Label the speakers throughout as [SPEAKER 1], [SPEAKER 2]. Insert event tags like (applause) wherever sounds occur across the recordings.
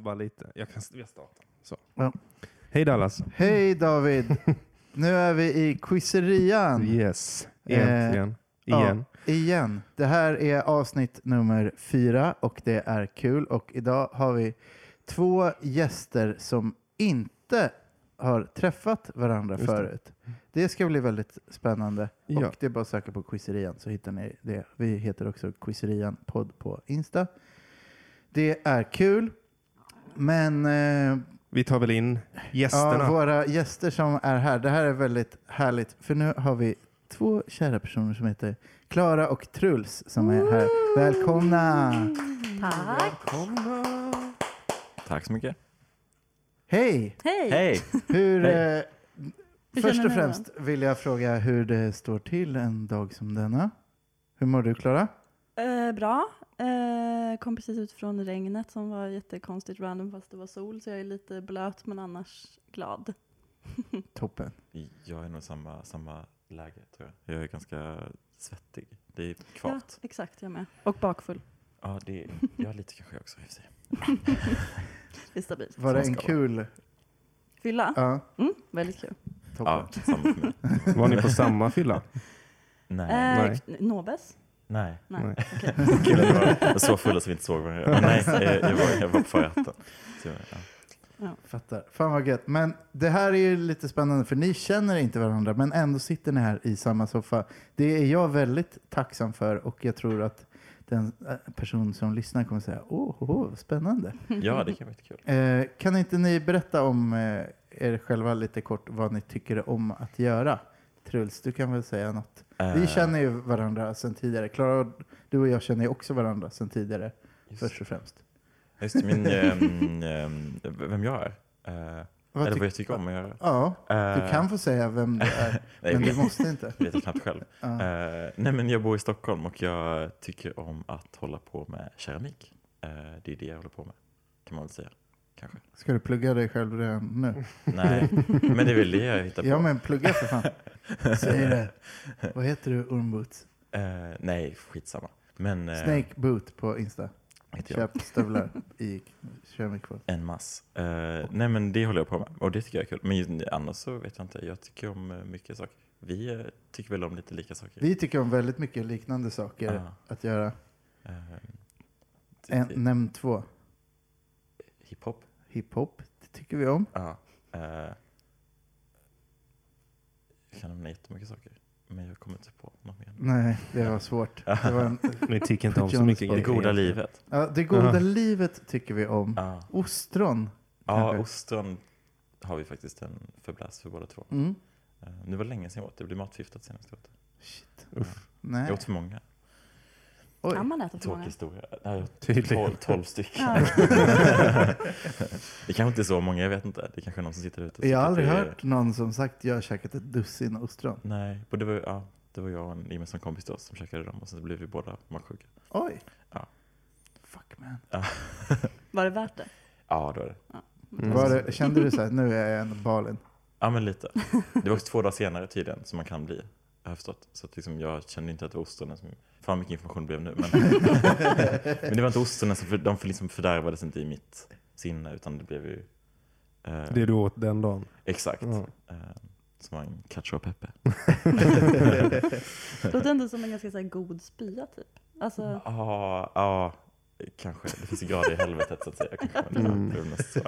[SPEAKER 1] bara lite. Jag kan jag startar. Så.
[SPEAKER 2] Ja.
[SPEAKER 1] Hej Dallas.
[SPEAKER 2] Hej David! nu är vi i quizerian.
[SPEAKER 1] Yes.
[SPEAKER 2] Eh,
[SPEAKER 1] Egentligen.
[SPEAKER 2] ja.
[SPEAKER 1] Igen.
[SPEAKER 2] Igen. Det här är avsnitt nummer fyra och det är kul. Och idag har vi två gäster som inte har träffat varandra
[SPEAKER 1] Just det.
[SPEAKER 2] förut. Det ska bli väldigt spännande.
[SPEAKER 1] Ja.
[SPEAKER 2] Och det är bara att söka på Quizerian så hittar ni det. Vi heter också Quizerian podd på Insta. Det är kul. Men eh,
[SPEAKER 1] Vi tar väl in gästerna.
[SPEAKER 2] Ja, våra gäster som är här. Det här är väldigt härligt. För nu har vi två kära personer som heter Klara och Truls som är här. Välkomna!
[SPEAKER 3] Tack.
[SPEAKER 1] Välkomna.
[SPEAKER 4] Tack så mycket.
[SPEAKER 2] Hej!
[SPEAKER 3] Hej.
[SPEAKER 4] Hej!
[SPEAKER 2] Hur,
[SPEAKER 4] Hej.
[SPEAKER 2] eh,
[SPEAKER 3] Hur
[SPEAKER 2] först
[SPEAKER 3] känner
[SPEAKER 2] och
[SPEAKER 3] ni
[SPEAKER 2] främst vill jag fråga hur det står till en dag som denna. Hur mår du Klara?
[SPEAKER 3] Eh, bra. Eh, kom precis ut från regnet som var jättekonstigt random fast det var sol så jag är lite blöt men annars glad.
[SPEAKER 2] Toppen.
[SPEAKER 4] (laughs) Jag är nog samma, samma läge tror jag. Jag är ganska svettig. Det är
[SPEAKER 3] Ja,
[SPEAKER 4] kvavt.
[SPEAKER 3] exakt, jag med. Och bakfull.
[SPEAKER 4] Ja, det är, jag är lite kanske också i och för sig.
[SPEAKER 3] Det är stabilt.
[SPEAKER 2] Var det
[SPEAKER 4] Som
[SPEAKER 2] en
[SPEAKER 4] ska
[SPEAKER 2] kul...
[SPEAKER 3] Fylla?
[SPEAKER 2] Ja,
[SPEAKER 3] Mm, väldigt kul.
[SPEAKER 2] toppen.
[SPEAKER 4] Ja, samma för mig.
[SPEAKER 1] Var ni på samma fylla?
[SPEAKER 4] Nej.
[SPEAKER 3] Eh, kn- Nobes?
[SPEAKER 2] (laughs)
[SPEAKER 4] Nej.
[SPEAKER 3] Nej.
[SPEAKER 1] Nej.
[SPEAKER 4] (laughs)
[SPEAKER 3] okej.
[SPEAKER 4] Gud, jag var så full att vi inte såg varandra.
[SPEAKER 2] (laughs)
[SPEAKER 4] Men nej, eh, jag var, jag var på förrätten. Så, ja.
[SPEAKER 2] Fattar. Fan vad gött. Men det här är ju lite spännande för ni känner inte varandra men ändå sitter ni här i samma soffa. Det är jag väldigt tacksam för och jag tror att den eh, person som lyssnar kommer säga åh, åh, åh vad spännande.
[SPEAKER 4] ja, det kan vara jättekul.
[SPEAKER 2] Eh, kan inte ni berätta om eh, er själva lite kort vad ni tycker om att göra? Truls, du kan väl säga något? Vi
[SPEAKER 4] Eh,
[SPEAKER 2] känner ju varandra sedan tidigare. Klara, och- du och jag känner ju också varandra sedan tidigare
[SPEAKER 4] just-
[SPEAKER 2] först och främst.
[SPEAKER 4] Just det, min, ehm, ehm, vem jag är. Eh,
[SPEAKER 2] Vad
[SPEAKER 4] eller
[SPEAKER 2] tyck-
[SPEAKER 4] vad jag tycker om att göra.
[SPEAKER 2] Ja,
[SPEAKER 4] Eh,
[SPEAKER 2] du kan få säga vem det är,
[SPEAKER 4] (laughs) nej,
[SPEAKER 2] men
[SPEAKER 4] jag
[SPEAKER 2] du
[SPEAKER 4] vet-
[SPEAKER 2] måste inte.
[SPEAKER 4] vet jag knappt själv.
[SPEAKER 2] Ja.
[SPEAKER 4] Eh, nej men jag bor i Stockholm och jag tycker om att hålla på med keramik. Eh, det är det jag håller på med, kan man väl säga.
[SPEAKER 2] (laughs)
[SPEAKER 4] Kanske.
[SPEAKER 2] Ska du plugga dig själv redan nu?
[SPEAKER 4] Nej, men det är väl det jag hittar på.
[SPEAKER 2] Ja men plugga för fan. Säg
[SPEAKER 4] (laughs)
[SPEAKER 2] det. Vad heter du Ormboots?
[SPEAKER 4] Eh, nej, skitsamma. Men eh,
[SPEAKER 2] Snake Boot på Insta.
[SPEAKER 4] heter jag.
[SPEAKER 2] Köp
[SPEAKER 4] (laughs)
[SPEAKER 2] stövlar i keramikvård.
[SPEAKER 4] En mass. Eh, nej men det håller jag på med och det tycker jag är kul. Men just, annars så vet jag inte. Jag tycker om eh, mycket saker. Vi eh, tycker väl om lite lika saker.
[SPEAKER 2] Vi tycker om väldigt mycket liknande saker
[SPEAKER 4] Ja,
[SPEAKER 2] att göra.
[SPEAKER 4] eh,
[SPEAKER 2] En,
[SPEAKER 4] typ
[SPEAKER 2] nämn två.
[SPEAKER 4] Hiphop.
[SPEAKER 2] Hiphop, det tycker vi om.
[SPEAKER 4] Ja. eh, jag kan nämna jättemycket saker. Men jag kommer inte på något mer.
[SPEAKER 2] Nej, det var svårt. Det, var en,
[SPEAKER 1] Ni tycker inte om så
[SPEAKER 2] Jonas
[SPEAKER 1] mycket
[SPEAKER 2] var-
[SPEAKER 4] Det
[SPEAKER 1] grejer.
[SPEAKER 4] goda livet.
[SPEAKER 2] ja, det goda
[SPEAKER 1] Ja.
[SPEAKER 2] livet tycker vi om.
[SPEAKER 4] Ja,
[SPEAKER 2] Ostron.
[SPEAKER 4] ja
[SPEAKER 2] Kanske.
[SPEAKER 4] ostron har vi faktiskt en förbläs för båda två.
[SPEAKER 2] Mm.
[SPEAKER 4] Eh, Nu var det länge sedan jag åt det. Det blev matförgiftat senast jag åt det.
[SPEAKER 2] Shit.
[SPEAKER 1] Uff.
[SPEAKER 4] Jag
[SPEAKER 2] Nej.
[SPEAKER 4] åt för många.
[SPEAKER 2] Oj.
[SPEAKER 3] Kan man äta för
[SPEAKER 4] Tråkig
[SPEAKER 3] många?
[SPEAKER 4] historia. Nej, jag åt
[SPEAKER 1] Tydligen.
[SPEAKER 4] tolv, tolv stycken. (laughs)
[SPEAKER 3] Ja.
[SPEAKER 4] det kanske inte är så många, jag vet inte. Det kanske är någon som sitter ute. och
[SPEAKER 2] Jag har
[SPEAKER 4] tycker
[SPEAKER 2] aldrig
[SPEAKER 4] att det är-
[SPEAKER 2] hört någon som sagt jag har käkat ett dussin ostron.
[SPEAKER 4] Nej, och det var, ja, det var jag och en gemensam kompis till oss som käkade dem och sen blev vi båda magsjuka.
[SPEAKER 2] Oj.
[SPEAKER 4] Ja.
[SPEAKER 2] Fuck man.
[SPEAKER 3] Var det
[SPEAKER 2] (laughs)
[SPEAKER 3] värt det?
[SPEAKER 4] (laughs) Ja, det var det.
[SPEAKER 1] Mm.
[SPEAKER 2] Var det, (laughs) kände du så här, nu är jag en balen?
[SPEAKER 4] Ja, men lite. Det var också två dagar senare tydligen som man kan bli. Jag har förstått. Så att liksom, jag kände inte att det var ostronen som... Fan mycket information det blev nu. Men, men det var inte ostronen som för, de för liksom fördärvades inte i mitt sinne utan det blev ju... eh,
[SPEAKER 1] Det du åt den dagen.
[SPEAKER 4] Exakt.
[SPEAKER 1] Ja.
[SPEAKER 4] Eh, som var en cacio e pepe.
[SPEAKER 3] Det låter ändå som en ganska så här, god spya typ. Alltså,
[SPEAKER 4] Ja, ja, kanske. Det finns ju grader i helvetet så att säga. Kanske var det
[SPEAKER 1] Mm.
[SPEAKER 4] det var mest så.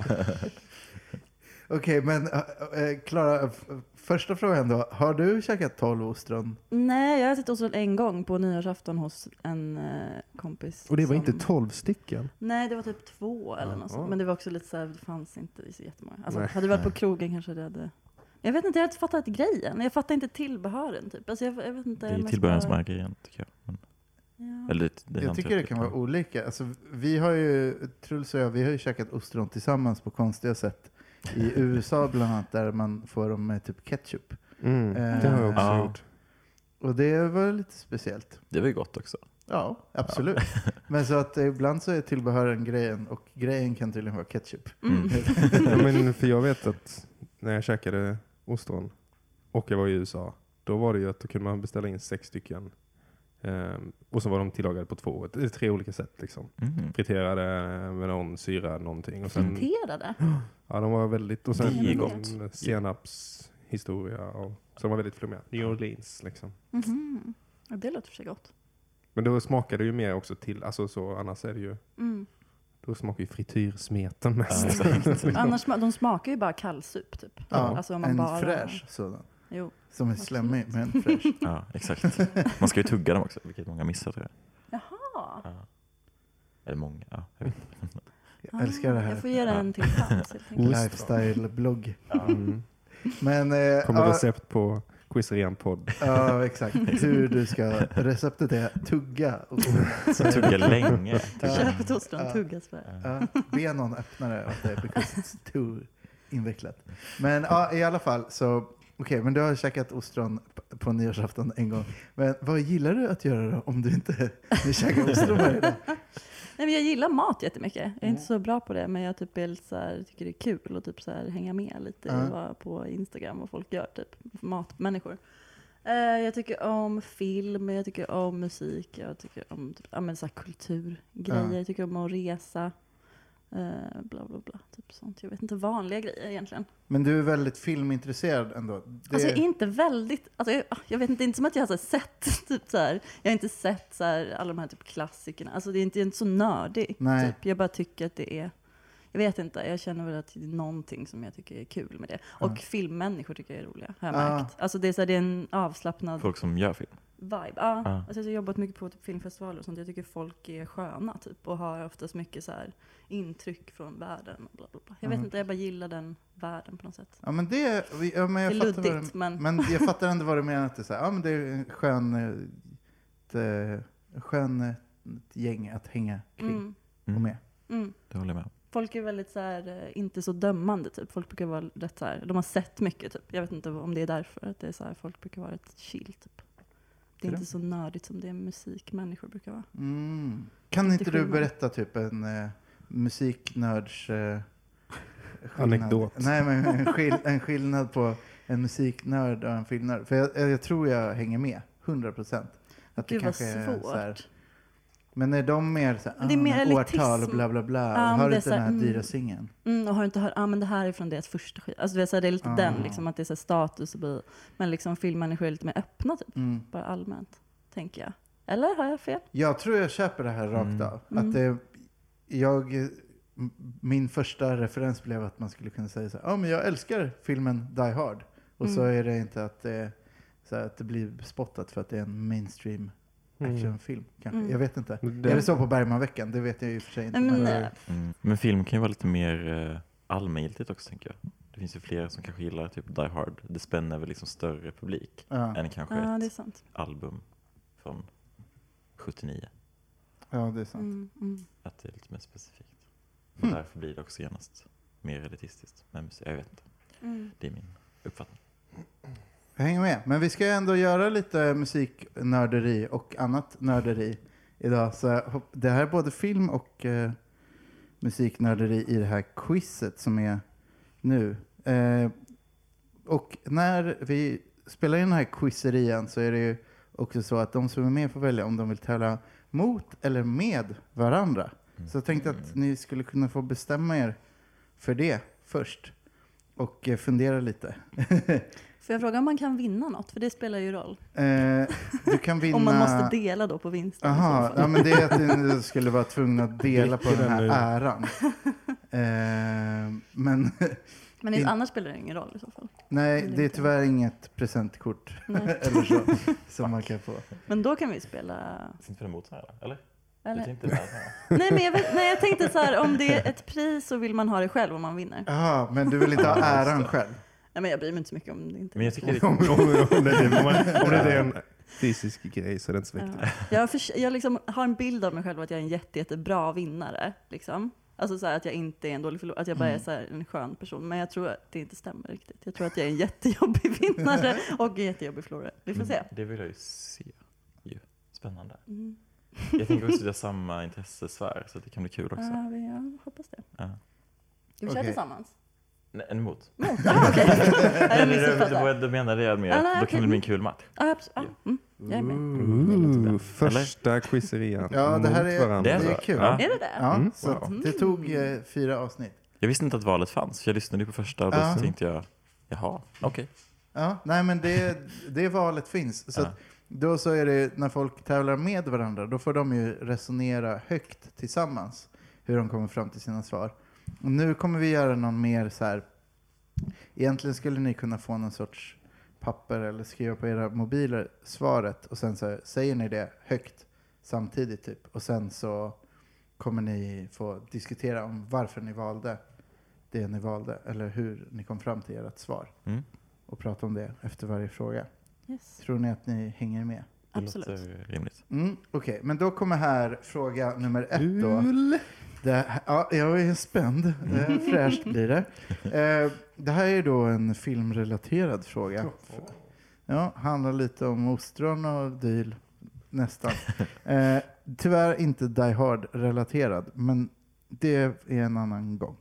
[SPEAKER 2] Okej, men äh, äh, Klara, f- första frågan då. Har du käkat 12 ostron?
[SPEAKER 3] nej, jag har ätit ostron en gång på nyårsafton hos en eh, kompis.
[SPEAKER 1] Och det var inte
[SPEAKER 3] som-
[SPEAKER 1] tolv stycken.
[SPEAKER 3] Nej, det var typ två eller
[SPEAKER 1] Jaha.
[SPEAKER 3] något sånt. Men det var också lite så här, det fanns inte så jättemånga. Alltså,
[SPEAKER 1] Nej.
[SPEAKER 3] hade det varit på krogen kanske det hade... Jag vet inte, jag har inte fattat grejen. Jag fattar inte tillbehören typ. Alltså, jag, jag vet inte.
[SPEAKER 4] Det är
[SPEAKER 3] mest
[SPEAKER 4] tillbehören som
[SPEAKER 3] bara-
[SPEAKER 4] är grejen tycker jag. Men,
[SPEAKER 3] Ja.
[SPEAKER 4] eller, det- det är
[SPEAKER 2] jag tycker det
[SPEAKER 4] hantverket.
[SPEAKER 2] kan vara olika. Alltså, vi har ju, Truls och jag, vi har ju käkat ostron tillsammans på konstiga sätt. (laughs) I USA bland annat, där man får dem med typ ketchup.
[SPEAKER 1] Mm.
[SPEAKER 2] Eh,
[SPEAKER 1] Det har jag också
[SPEAKER 4] ja.
[SPEAKER 1] gjort.
[SPEAKER 2] Och det var lite speciellt.
[SPEAKER 4] Det var ju gott också.
[SPEAKER 2] Ja, absolut. Men så att eh, ibland så är tillbehören grejen och grejen kan tydligen vara (laughs) ketchup.
[SPEAKER 3] Mm.
[SPEAKER 1] Ja, men för jag vet att när jag käkade ostron och jag var i USA, då var det ju att då kunde man beställa in sex stycken Ehm, och så var de tillagade på två, eller tre olika sätt. Liksom.
[SPEAKER 4] Mm.
[SPEAKER 1] Friterade med någon syra, någonting. Och sen,
[SPEAKER 3] Friterade?
[SPEAKER 1] ja, de var väldigt... Och sen
[SPEAKER 4] Det är
[SPEAKER 1] någon senapshistoria. Och, så de var väldigt flummiga. New Orleans liksom.
[SPEAKER 3] Mhm. Ja, det låter för sig gott.
[SPEAKER 1] Men då smakar det ju mer också till, alltså så annars är det ju,
[SPEAKER 3] Mm.
[SPEAKER 1] då smakar ju frityrsmeten mest.
[SPEAKER 4] Ja,
[SPEAKER 3] (laughs)
[SPEAKER 4] exakt.
[SPEAKER 3] Annars, sma- de smakar ju bara kallsup typ.
[SPEAKER 2] Ja,
[SPEAKER 3] Alltså, om man
[SPEAKER 2] en
[SPEAKER 3] bara-
[SPEAKER 2] fräsch sådan.
[SPEAKER 3] Jo.
[SPEAKER 2] Som är
[SPEAKER 3] Absolut.
[SPEAKER 2] slemmig, men fräsch.
[SPEAKER 4] Ja, exakt. Man ska ju tugga dem också, vilket många missar tror jag.
[SPEAKER 3] Jaha.
[SPEAKER 4] Ja. Eller många, ja. Jag vet. inte. (laughs)
[SPEAKER 3] (laughs)
[SPEAKER 2] Jag älskar det
[SPEAKER 3] Ah, Jag
[SPEAKER 2] här.
[SPEAKER 3] får ge det en till chans.
[SPEAKER 1] (laughs)
[SPEAKER 3] helt enkelt.
[SPEAKER 2] Lifestyle-blogg.
[SPEAKER 1] (laughs) Mm.
[SPEAKER 2] Men, eh,
[SPEAKER 1] Kommer
[SPEAKER 2] ja,
[SPEAKER 1] recept på Quizren podd.
[SPEAKER 2] ja, exakt. Hur du ska, receptet är tugga. Och,
[SPEAKER 4] (laughs) Tugga länge. Tugga.
[SPEAKER 3] Köp ett ostron,
[SPEAKER 2] Ja.
[SPEAKER 3] tugga Sverige.
[SPEAKER 2] ja, be någon öppna det åt dig, because it's too invecklat. Men ja, i alla fall så, okej, men du har käkat ostron p- på nyårsafton en gång. Men vad gillar du att göra då om du inte (laughs) vill käka ostron varje dag?
[SPEAKER 3] Nej, men jag gillar mat jättemycket. Jag är inte så bra på det, men jag typ är lite så här, tycker det är kul att typ så här, hänga med lite
[SPEAKER 2] Ja.
[SPEAKER 3] i vad på Instagram och folk gör, typ matmänniskor. Eh, jag tycker om film, jag tycker om musik, jag tycker om typ, ja, men så här, kulturgrejer,
[SPEAKER 2] Ja.
[SPEAKER 3] jag tycker om att resa. Eh, bla bla bla, typ sånt. Jag vet inte, vanliga grejer egentligen.
[SPEAKER 2] Men du är väldigt filmintresserad ändå. Det,
[SPEAKER 3] Alltså jag är inte väldigt, alltså jag, ah, jag vet inte, det är inte som att jag har så här sett, (laughs) typ så här, jag har inte sett så här, alla de här typ klassikerna. Alltså det är inte, jag är inte så nördig.
[SPEAKER 2] Nej.
[SPEAKER 3] Typ. Jag bara tycker att det är, jag vet inte, jag känner väl att det är någonting som jag tycker är kul med det. Och
[SPEAKER 2] Ja.
[SPEAKER 3] filmmänniskor tycker jag är roliga, har jag
[SPEAKER 2] Ja.
[SPEAKER 3] märkt. Alltså det är, så här, det är en avslappnad
[SPEAKER 4] Folk som gör film.
[SPEAKER 3] vibe. Ja.
[SPEAKER 4] Ja.
[SPEAKER 3] Alltså jag har jobbat mycket på typ filmfestivaler och sånt. Jag tycker folk är sköna typ och har oftast mycket så här intryck från världen. Och bla, bla, bla. Jag
[SPEAKER 2] Mm.
[SPEAKER 3] vet inte, jag bara gillar den världen på något sätt.
[SPEAKER 2] ja, men det, ja, men jag
[SPEAKER 3] det är
[SPEAKER 2] fattar vad du
[SPEAKER 3] luddigt men
[SPEAKER 2] Men jag fattar ändå vad du menar. Att det, är så här, ja, men det är en skön, eh, ett, eh, skön eh, ett gäng att hänga kring
[SPEAKER 3] mm,
[SPEAKER 2] och
[SPEAKER 4] Mm,
[SPEAKER 2] med.
[SPEAKER 3] mm.
[SPEAKER 4] det håller jag med om.
[SPEAKER 3] Folk är väldigt så här, eh, inte så dömande typ. Folk brukar vara rätt så här, de har sett mycket typ. Jag vet inte om det är därför att det är så här, folk brukar vara rätt chill typ. Det är
[SPEAKER 2] Är det?
[SPEAKER 3] inte så nördigt som det är musikmänniskor brukar vara.
[SPEAKER 2] Mm. Kan
[SPEAKER 3] Lite
[SPEAKER 2] inte du
[SPEAKER 3] skillnad.
[SPEAKER 2] berätta typ en eh, musiknörds... Eh, skillnad?
[SPEAKER 1] Anekdot.
[SPEAKER 2] Nej, men en, skill en skillnad på en musiknörd och en filmnörd. För jag, jag jag tror jag hänger med, 100 procent. Att
[SPEAKER 3] Gud vad
[SPEAKER 2] är så här-
[SPEAKER 3] svårt.
[SPEAKER 2] men är de mer så här,
[SPEAKER 3] Men det är mer
[SPEAKER 2] ah, årtal och
[SPEAKER 3] elitism.
[SPEAKER 2] bla bla bla.
[SPEAKER 3] Ja, men
[SPEAKER 2] Har
[SPEAKER 3] det
[SPEAKER 2] du
[SPEAKER 3] är
[SPEAKER 2] inte
[SPEAKER 3] så
[SPEAKER 2] den
[SPEAKER 3] här,
[SPEAKER 2] här
[SPEAKER 3] mm.
[SPEAKER 2] dyra singeln?
[SPEAKER 3] Mm, och har du inte hört, ah men det här är från deras första skiva. Alltså du vet, så här, det är lite
[SPEAKER 2] Ah.
[SPEAKER 3] den liksom, att det är så här status och bi. Men liksom filmmänniskor är lite mer öppna typ,
[SPEAKER 2] Mm.
[SPEAKER 3] bara allmänt. Tänker jag. Eller har jag fel?
[SPEAKER 2] Jag tror jag köper det här rakt
[SPEAKER 4] Mm.
[SPEAKER 2] av.
[SPEAKER 3] Mm.
[SPEAKER 2] Att det, jag, m- min första referens blev att man skulle kunna säga så här, ja men jag älskar filmen Die Hard. Och så
[SPEAKER 3] Mm.
[SPEAKER 2] är det inte att det, så här, att det blir spottat för att det är en mainstream
[SPEAKER 1] Mm.
[SPEAKER 2] actionfilm. Kanske.
[SPEAKER 3] Mm.
[SPEAKER 2] Jag vet inte.
[SPEAKER 1] Det-
[SPEAKER 2] Är det så på Bergmanveckan? Det vet jag ju för sig inte.
[SPEAKER 3] Nej, men,
[SPEAKER 1] Nej.
[SPEAKER 3] eh,
[SPEAKER 4] Mm. Men film kan ju vara lite mer eh, allmängiltigt också tänker jag. Det finns ju flera som kanske gillar typ Die Hard. Det spänner över liksom större publik
[SPEAKER 2] ja,
[SPEAKER 4] än kanske
[SPEAKER 3] ja,
[SPEAKER 4] ett
[SPEAKER 3] det är sant.
[SPEAKER 4] album från 79.
[SPEAKER 2] ja, det är sant.
[SPEAKER 3] Mm, mm.
[SPEAKER 4] Att det är lite mer specifikt. Och
[SPEAKER 2] Mm.
[SPEAKER 4] Därför blir det också genast mer elitistiskt. Men musik- jag vet inte,
[SPEAKER 3] Mm.
[SPEAKER 4] det är min uppfattning.
[SPEAKER 2] Jag hänger med. Men vi ska ju ändå göra lite musiknörderi och annat nörderi idag. Så jag hopp- det här är både film och eh, musiknörderi i det här quizet som är nu. Eh, och när vi spelar in den här quizerian så är det ju också så att de som är med får välja om de vill tävla mot eller med varandra. Så jag tänkte att
[SPEAKER 4] Mm.
[SPEAKER 2] ni skulle kunna få bestämma er för det först. Och eh, fundera lite.
[SPEAKER 3] Får jag fråga om man kan vinna något? För det spelar ju roll.
[SPEAKER 2] Eh, du kan vinna...
[SPEAKER 3] (laughs) Om man måste dela då på vinsten. i så
[SPEAKER 2] Aha,
[SPEAKER 3] fall.
[SPEAKER 2] ja, men det är att du skulle vara tvungen att dela på
[SPEAKER 1] Dricker
[SPEAKER 2] den här
[SPEAKER 1] den nu?
[SPEAKER 2] äran. Eh, men
[SPEAKER 3] (laughs)
[SPEAKER 2] (laughs)
[SPEAKER 3] Men i-
[SPEAKER 2] In-
[SPEAKER 3] annars spelar det ingen roll i så fall.
[SPEAKER 2] nej, det är tyvärr inget
[SPEAKER 3] (laughs)
[SPEAKER 2] presentkort (laughs)
[SPEAKER 3] Nej.
[SPEAKER 2] eller så som man kan få.
[SPEAKER 3] Men då kan vi spela...
[SPEAKER 4] Finns det emot här eller? Du
[SPEAKER 3] Eller?
[SPEAKER 4] tänkte där, här.
[SPEAKER 3] Nej, men jag, vet, nej, jag tänkte så här, om
[SPEAKER 2] (laughs)
[SPEAKER 3] det är ett pris så vill man ha det själv om man vinner.
[SPEAKER 2] Jaha, men du vill inte ha
[SPEAKER 4] Ja, just
[SPEAKER 2] äran
[SPEAKER 4] det.
[SPEAKER 2] själv?
[SPEAKER 3] Nej, men jag bryr mig inte så mycket om det inte
[SPEAKER 4] Men jag tycker
[SPEAKER 1] (laughs)
[SPEAKER 4] det
[SPEAKER 1] Om, om, om, det, om, man- om det är en fysisk grej så är det inte så viktigt.
[SPEAKER 3] Ja. Jag, förs- jag liksom har en bild av mig själv att jag är en jätte, jättebra vinnare. Liksom. Alltså så här, att jag inte är en dålig förlorare, att jag bara är
[SPEAKER 2] Mm.
[SPEAKER 3] så här, en skön person. Men jag tror att det inte stämmer riktigt. Jag tror att jag är en (laughs) jättejobbig
[SPEAKER 4] (laughs)
[SPEAKER 3] vinnare och en jättejobbig förlorare. (laughs) Vi får se.
[SPEAKER 4] Men Mm, Det vill jag ju se. Ju. Spännande.
[SPEAKER 3] Mm.
[SPEAKER 4] Jag tänker också att vi har samma intressesfär så att det kan bli kul också.
[SPEAKER 3] Ja, vi- jag hoppas det.
[SPEAKER 4] Ja.
[SPEAKER 3] Ska vi köra
[SPEAKER 2] Okej.
[SPEAKER 3] tillsammans?
[SPEAKER 4] (laughs) Nej, en emot. (laughs)
[SPEAKER 3] Mot? Ah, (laughs) okej. Okay. Jag
[SPEAKER 4] Eller, det, eh,
[SPEAKER 3] missuppfattade.
[SPEAKER 4] det, det menade jag mer,
[SPEAKER 3] Ah, nej,
[SPEAKER 4] då
[SPEAKER 3] okej.
[SPEAKER 4] kan det bli en kul match.
[SPEAKER 3] Ah, abs- ah, mm. Jag är med.
[SPEAKER 1] Ooh, första quizerian
[SPEAKER 2] Ja, det här
[SPEAKER 1] mot
[SPEAKER 2] är,
[SPEAKER 1] varandra.
[SPEAKER 2] det
[SPEAKER 4] Det är
[SPEAKER 2] är
[SPEAKER 4] bra.
[SPEAKER 2] kul.
[SPEAKER 4] Ja.
[SPEAKER 2] Ja,
[SPEAKER 3] Är det det?
[SPEAKER 1] Mm.
[SPEAKER 2] så att
[SPEAKER 3] Wow.
[SPEAKER 2] det tog eh, fyra avsnitt.
[SPEAKER 4] Jag visste inte att valet fanns, för jag lyssnade ju på första och då
[SPEAKER 2] Ja.
[SPEAKER 4] så tänkte jag, jaha, okej.
[SPEAKER 2] Ja, nej men det, det valet finns. Så
[SPEAKER 4] Ja.
[SPEAKER 2] att då så är det när folk tävlar med varandra, då får de ju resonera högt tillsammans hur de kommer fram till sina svar. Och nu kommer vi göra någon mer så här, egentligen skulle ni kunna få någon sorts papper eller skriva på era mobiler svaret och sen så här, säger ni det högt samtidigt typ. Och sen så kommer ni få diskutera om varför ni valde det ni valde eller hur ni kom fram till ert svar
[SPEAKER 4] Mm.
[SPEAKER 2] och prata om det efter varje fråga.
[SPEAKER 3] Yes,
[SPEAKER 2] Tror ni att ni hänger med?
[SPEAKER 4] Det
[SPEAKER 3] absolut.
[SPEAKER 4] låter rimligt.
[SPEAKER 2] Mm, Okej, men då kommer här fråga nummer ett då.
[SPEAKER 1] Kul!
[SPEAKER 2] Det här, ja, jag är spänd. Eh, Fräscht blir det. Eh, Det här är då en filmrelaterad fråga. Ja, handlar lite om ostron och dyl. Nästan. Eh, Tyvärr inte Die Hard-relaterad, men det är en annan gång.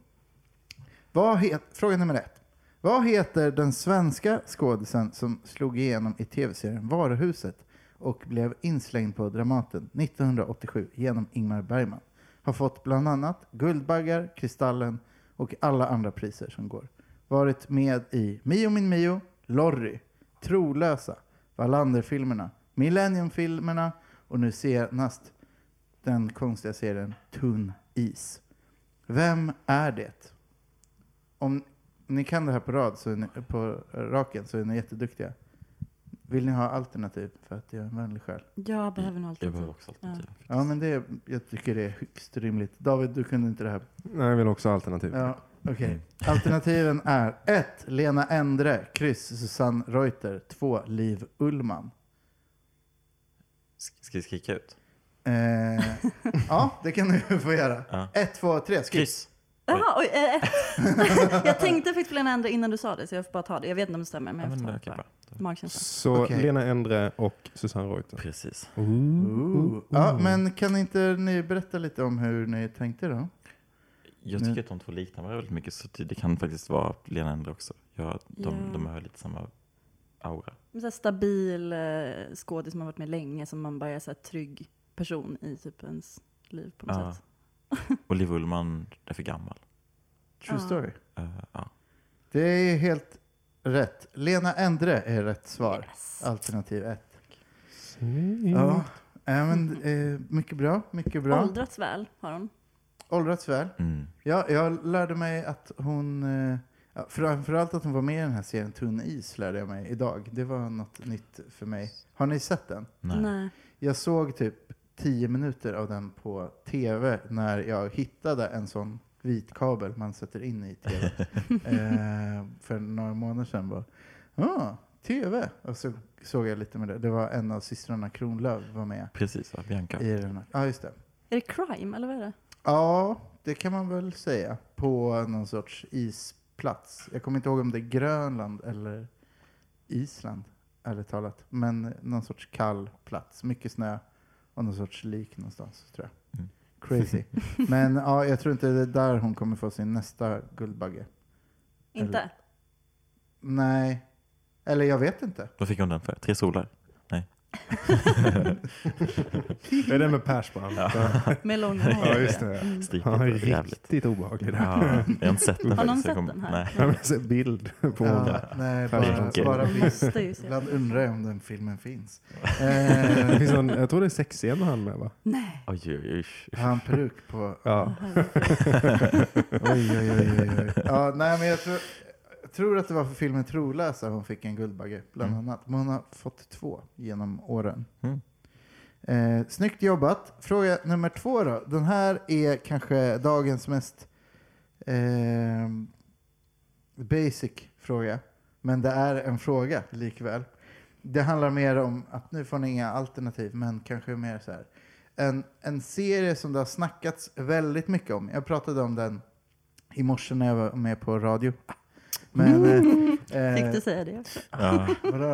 [SPEAKER 2] Vad het, fråga nummer ett. Vad heter den svenska skådisen som slog igenom i tv-serien Varuhuset och blev inslängd på Dramaten 1987 genom Ingmar Bergman? Har fått bland annat Guldbaggar, Kristallen och alla andra priser som går. Varit med i Mio min Mio, Lorry, Trolösa, Wallander-filmerna, Millennium-filmerna och nu senast den konstiga serien Tunn is. Vem är det? Om ni kan det här på rad så är ni, på raken så är ni jätteduktiga. Vill ni ha alternativ för att jag är en vänlig själ?
[SPEAKER 3] Jag behöver nog
[SPEAKER 4] Jag
[SPEAKER 3] alltid
[SPEAKER 4] behöver också alternativ.
[SPEAKER 2] Ja, men det, jag tycker det är högst rimligt. David, du kunde inte det här.
[SPEAKER 1] Nej, jag vill också ha alternativ.
[SPEAKER 2] Ja, okej.
[SPEAKER 4] Mm.
[SPEAKER 2] Alternativen är 1. Lena Endre, kryss Susanne Reuter, 2. Liv Ullman.
[SPEAKER 4] Sk- Ska vi skrika ut?
[SPEAKER 2] Eh, ja, det kan du (laughs) få göra.
[SPEAKER 4] Ja.
[SPEAKER 2] 1, 2, 3, skriv.
[SPEAKER 4] Kryss!
[SPEAKER 3] Jaha, oj, eh, ett. (laughs) jag tänkte Fittfelen ändra innan du sa det, så jag får bara ta det. Jag vet inte om det stämmer, men
[SPEAKER 4] Ja,
[SPEAKER 3] jag får
[SPEAKER 4] men,
[SPEAKER 3] ta det
[SPEAKER 4] okej,
[SPEAKER 3] bara.
[SPEAKER 4] bra.
[SPEAKER 3] Magkänsla.
[SPEAKER 1] Så
[SPEAKER 2] Okej.
[SPEAKER 1] Lena Endre och Susanne Reuter.
[SPEAKER 4] Precis.
[SPEAKER 2] Ooh. Ja, men kan inte ni berätta lite om hur ni tänkte då?
[SPEAKER 4] Jag
[SPEAKER 2] Mm.
[SPEAKER 4] tycker att de två liknar varandra väldigt mycket, så det kan faktiskt vara Lena Endre också. Ja, de,
[SPEAKER 3] Ja.
[SPEAKER 4] de har lite samma aura.
[SPEAKER 3] Men så här stabil eh, skådis som har varit med länge, som man bara är så här trygg person i typ ens liv på något
[SPEAKER 4] Ja.
[SPEAKER 3] sätt.
[SPEAKER 4] Och Liv Ullman är för gammal.
[SPEAKER 2] True
[SPEAKER 3] Ja.
[SPEAKER 2] story.
[SPEAKER 4] Eh, ja.
[SPEAKER 2] Det är helt rätt. Lena Endre är rätt svar.
[SPEAKER 3] Yes.
[SPEAKER 2] Alternativ 1.
[SPEAKER 1] Mm.
[SPEAKER 2] Ja, äh, men, eh, mycket bra. Mycket bra.
[SPEAKER 3] Åldrats väl har hon.
[SPEAKER 2] Åldrats väl.
[SPEAKER 4] mm.
[SPEAKER 2] Ja, jag lärde mig att hon... eh, ja, Framförallt att hon var med i den här serien Tunn is lärde jag mig idag. Det var något nytt för mig. Har ni sett den?
[SPEAKER 4] Nej.
[SPEAKER 2] Jag såg typ 10 minuter av den på tv när jag hittade en sån vit kabel man sätter in i tv. eh, för några månader sedan bara, ah, tv. Och så såg jag lite med det. Det var en av systrarna Kronlöf var med
[SPEAKER 4] Precis, va? Bianca.
[SPEAKER 2] i den. här- Ja, just det.
[SPEAKER 3] Är det crime eller vad är det?
[SPEAKER 2] Ja, det kan man väl säga. På någon sorts isplats. Jag kommer inte ihåg om det är Grönland eller Island, ärligt talat. Men någon sorts kall plats. Mycket snö och någon sorts lik någonstans, tror jag.
[SPEAKER 4] Mm.
[SPEAKER 1] (laughs)
[SPEAKER 2] Crazy. Men ja, jag tror inte det är där hon kommer få sin nästa Guldbagge.
[SPEAKER 3] Inte?
[SPEAKER 2] Nej. Eller jag vet inte.
[SPEAKER 4] Vad fick hon den för? Tre solar?
[SPEAKER 1] Det är den med Persbrandt.
[SPEAKER 3] Med långa hår.
[SPEAKER 1] Ja, just det.
[SPEAKER 3] Mm.
[SPEAKER 4] Stiket.
[SPEAKER 1] Ja,
[SPEAKER 4] och jävligt.
[SPEAKER 1] riktigt obehaglig. där.
[SPEAKER 4] Ja, jag har inte sett den
[SPEAKER 3] Har någon
[SPEAKER 4] faktiskt.
[SPEAKER 3] sett
[SPEAKER 4] Jag kom-
[SPEAKER 3] den här?
[SPEAKER 4] Nej.
[SPEAKER 1] Jag
[SPEAKER 3] (laughs)
[SPEAKER 1] vill se bild på honom.
[SPEAKER 2] Ja, nej, bara,
[SPEAKER 1] (laughs)
[SPEAKER 4] Tänker.
[SPEAKER 2] bara
[SPEAKER 3] Man
[SPEAKER 2] finns.
[SPEAKER 3] måste ju se.
[SPEAKER 2] Ibland undrar jag om den filmen finns.
[SPEAKER 1] Det
[SPEAKER 2] Eh,
[SPEAKER 1] finns en, jag tror det är sexscen med han med va?
[SPEAKER 3] Nej.
[SPEAKER 4] Oj, oj, oj.
[SPEAKER 2] har han peruk på
[SPEAKER 1] Ja.
[SPEAKER 2] Oj, oj, oj, oj, oj. Ja, nej, men jag, tror, jag tror att det var för filmen Trolösa hon fick en Guldbagge, bland
[SPEAKER 4] Mm.
[SPEAKER 2] annat. Men hon har fått två genom åren.
[SPEAKER 4] Mm.
[SPEAKER 2] Eh, snyggt jobbat. Fråga nummer två då. Den här är kanske dagens mest eh, basic fråga. Men det är en fråga likväl. Det handlar mer om att nu får ni inga alternativ, men kanske mer så här. En, en serie som det har snackats väldigt mycket om. Jag pratade om den i morse när jag var med på radio. Men, eh, eh,
[SPEAKER 3] Mm. Fick du säga det också?
[SPEAKER 4] Ja.
[SPEAKER 2] Vadå?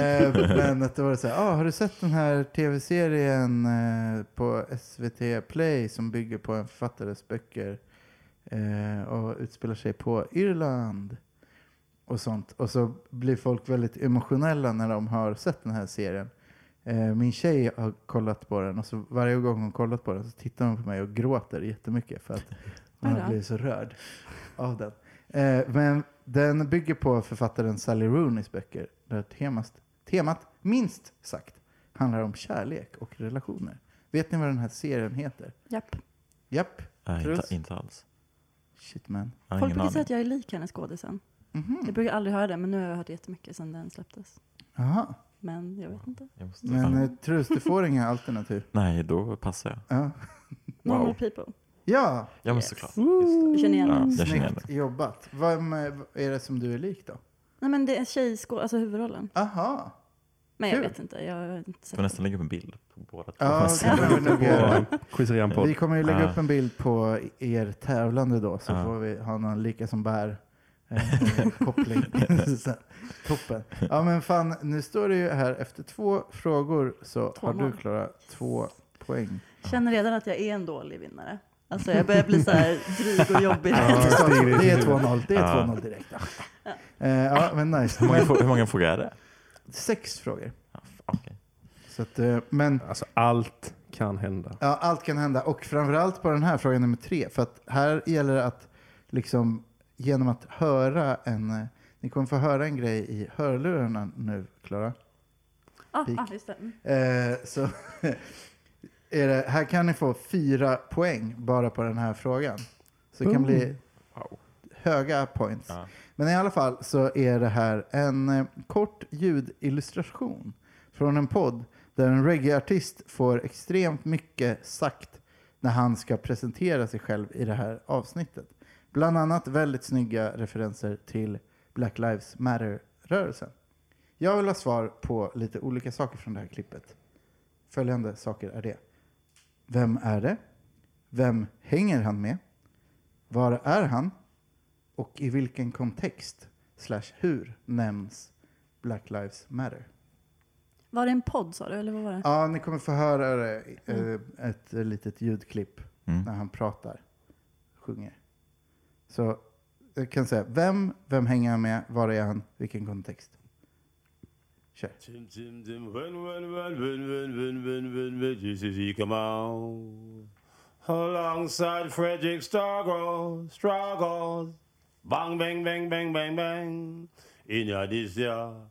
[SPEAKER 2] Eh, men att det var så här, ah, har du sett den här tv-serien eh, på SVT Play som bygger på en författares böcker eh, och utspelar sig på Irland? Och sånt. Och så blir folk väldigt emotionella när de har sett den här serien. Eh, Min tjej har kollat på den och så varje gång hon kollat på den så tittar hon på mig och gråter jättemycket
[SPEAKER 3] (laughs)
[SPEAKER 2] för att
[SPEAKER 3] Oj
[SPEAKER 2] hon
[SPEAKER 3] då.
[SPEAKER 2] blir så rörd av den. Eh, Men den bygger på författaren Sally Rooneys böcker där temat, temat minst sagt handlar om kärlek och relationer. Vet ni vad den här serien heter?
[SPEAKER 3] Japp.
[SPEAKER 2] Japp.
[SPEAKER 4] Nej,
[SPEAKER 2] Truls?
[SPEAKER 4] inte, inte alls.
[SPEAKER 2] Shit man.
[SPEAKER 4] Jag har
[SPEAKER 3] Folk
[SPEAKER 4] ingen
[SPEAKER 3] brukar säga
[SPEAKER 4] aning.
[SPEAKER 3] att jag är lik henne skådisen. Jag
[SPEAKER 2] Mhm.
[SPEAKER 3] brukar aldrig höra det, men nu har jag hört jättemycket sedan den släpptes.
[SPEAKER 2] Jaha.
[SPEAKER 3] Men jag vet inte.
[SPEAKER 4] Jag måste...
[SPEAKER 2] Men
[SPEAKER 4] Ja.
[SPEAKER 2] eh, Truls, du får inga
[SPEAKER 4] (laughs)
[SPEAKER 2] alternativ.
[SPEAKER 4] Nej, då passar jag.
[SPEAKER 2] Ja.
[SPEAKER 3] Normal
[SPEAKER 4] Wow.
[SPEAKER 3] people.
[SPEAKER 2] ja.
[SPEAKER 4] Ja, men
[SPEAKER 3] Yes.
[SPEAKER 4] såklart.
[SPEAKER 3] Jag känner igen
[SPEAKER 4] Ja,
[SPEAKER 3] henne.
[SPEAKER 4] jag känner igen
[SPEAKER 2] Snyggt jobbat. Vem eh, är det som du är lik då?
[SPEAKER 3] Nej men det är tjejskå, alltså huvudrollen.
[SPEAKER 2] Aha.
[SPEAKER 3] Men jag
[SPEAKER 2] Kul.
[SPEAKER 3] vet inte, jag har inte
[SPEAKER 4] Jag
[SPEAKER 3] sett
[SPEAKER 4] får
[SPEAKER 3] den.
[SPEAKER 4] nästan lägga upp en bild på båda två. (laughs)
[SPEAKER 2] Ja,
[SPEAKER 4] Fast-
[SPEAKER 2] det kan vi nog göra.
[SPEAKER 1] Quizerian
[SPEAKER 2] Vi
[SPEAKER 1] podd.
[SPEAKER 2] kommer ju lägga
[SPEAKER 4] Ja.
[SPEAKER 2] upp en bild på er tävlande då, så
[SPEAKER 4] Ja.
[SPEAKER 2] får vi ha någon lika som bär eh,
[SPEAKER 4] (laughs)
[SPEAKER 2] eh, koppling. Sen. (laughs) Toppen. Ja men fan, nu står det ju här efter två frågor så
[SPEAKER 3] Två
[SPEAKER 2] har du
[SPEAKER 3] noll.
[SPEAKER 2] klarat två poäng.
[SPEAKER 3] Känner redan att jag är en dålig vinnare. Alltså jag börjar bli
[SPEAKER 2] (laughs)
[SPEAKER 3] så här dryg och jobbig. (laughs)
[SPEAKER 1] Ja.
[SPEAKER 2] det,
[SPEAKER 1] stiger
[SPEAKER 2] är
[SPEAKER 1] i
[SPEAKER 2] det är
[SPEAKER 1] huvudet.
[SPEAKER 2] 2-0, det är
[SPEAKER 4] Ja.
[SPEAKER 2] 2-0 direkt. Ja. Eh, ja men nice.
[SPEAKER 4] Hur många,
[SPEAKER 2] Men,
[SPEAKER 4] frå- hur många frågor är det?
[SPEAKER 2] sex frågor.
[SPEAKER 4] Ja, fan, okej.
[SPEAKER 2] Så att, eh, men
[SPEAKER 1] Alltså allt kan hända.
[SPEAKER 2] Ja, allt kan hända. Och framförallt på den här frågan nummer tre. För att här gäller det att liksom genom att höra en... eh, Ni kommer få höra en grej i hörlurarna nu, Klara.
[SPEAKER 3] Ah, ah, just det. Mm.
[SPEAKER 2] Eh, så (laughs) är det, här kan ni få fyra poäng bara på den här frågan. Så det kan
[SPEAKER 1] Boom.
[SPEAKER 2] bli
[SPEAKER 4] Wow.
[SPEAKER 2] höga points.
[SPEAKER 4] Ja.
[SPEAKER 2] Men i alla fall så är det här en eh, kort ljudillustration från en podd där en reggaeartist får extremt mycket sagt när han ska presentera sig själv i det här avsnittet. Bland annat väldigt snygga referenser till Black Lives Matter-rörelsen. Jag vill ha svar på lite olika saker från det här klippet. Följande saker är det. Vem är det? Vem hänger han med? Var är han? Och i vilken kontext slash hur nämns Black Lives Matter?
[SPEAKER 3] Var det en podd sa du, eller vad var det?
[SPEAKER 2] Ja, ni kommer få höra det, eh, ett litet ljudklipp när
[SPEAKER 4] Mm.
[SPEAKER 2] han pratar, sjunger. Så jag kan säga, vem, vem hänger han med, var är han, vilken kontext? Kör.
[SPEAKER 5] Tim, tim, tim, when, when, when, when, when, when, when, when, when, Jesus, he come out. Alongside Frederick Struggle, Struggle. Bang, bang, bang, bang, bang, bang. In a this year,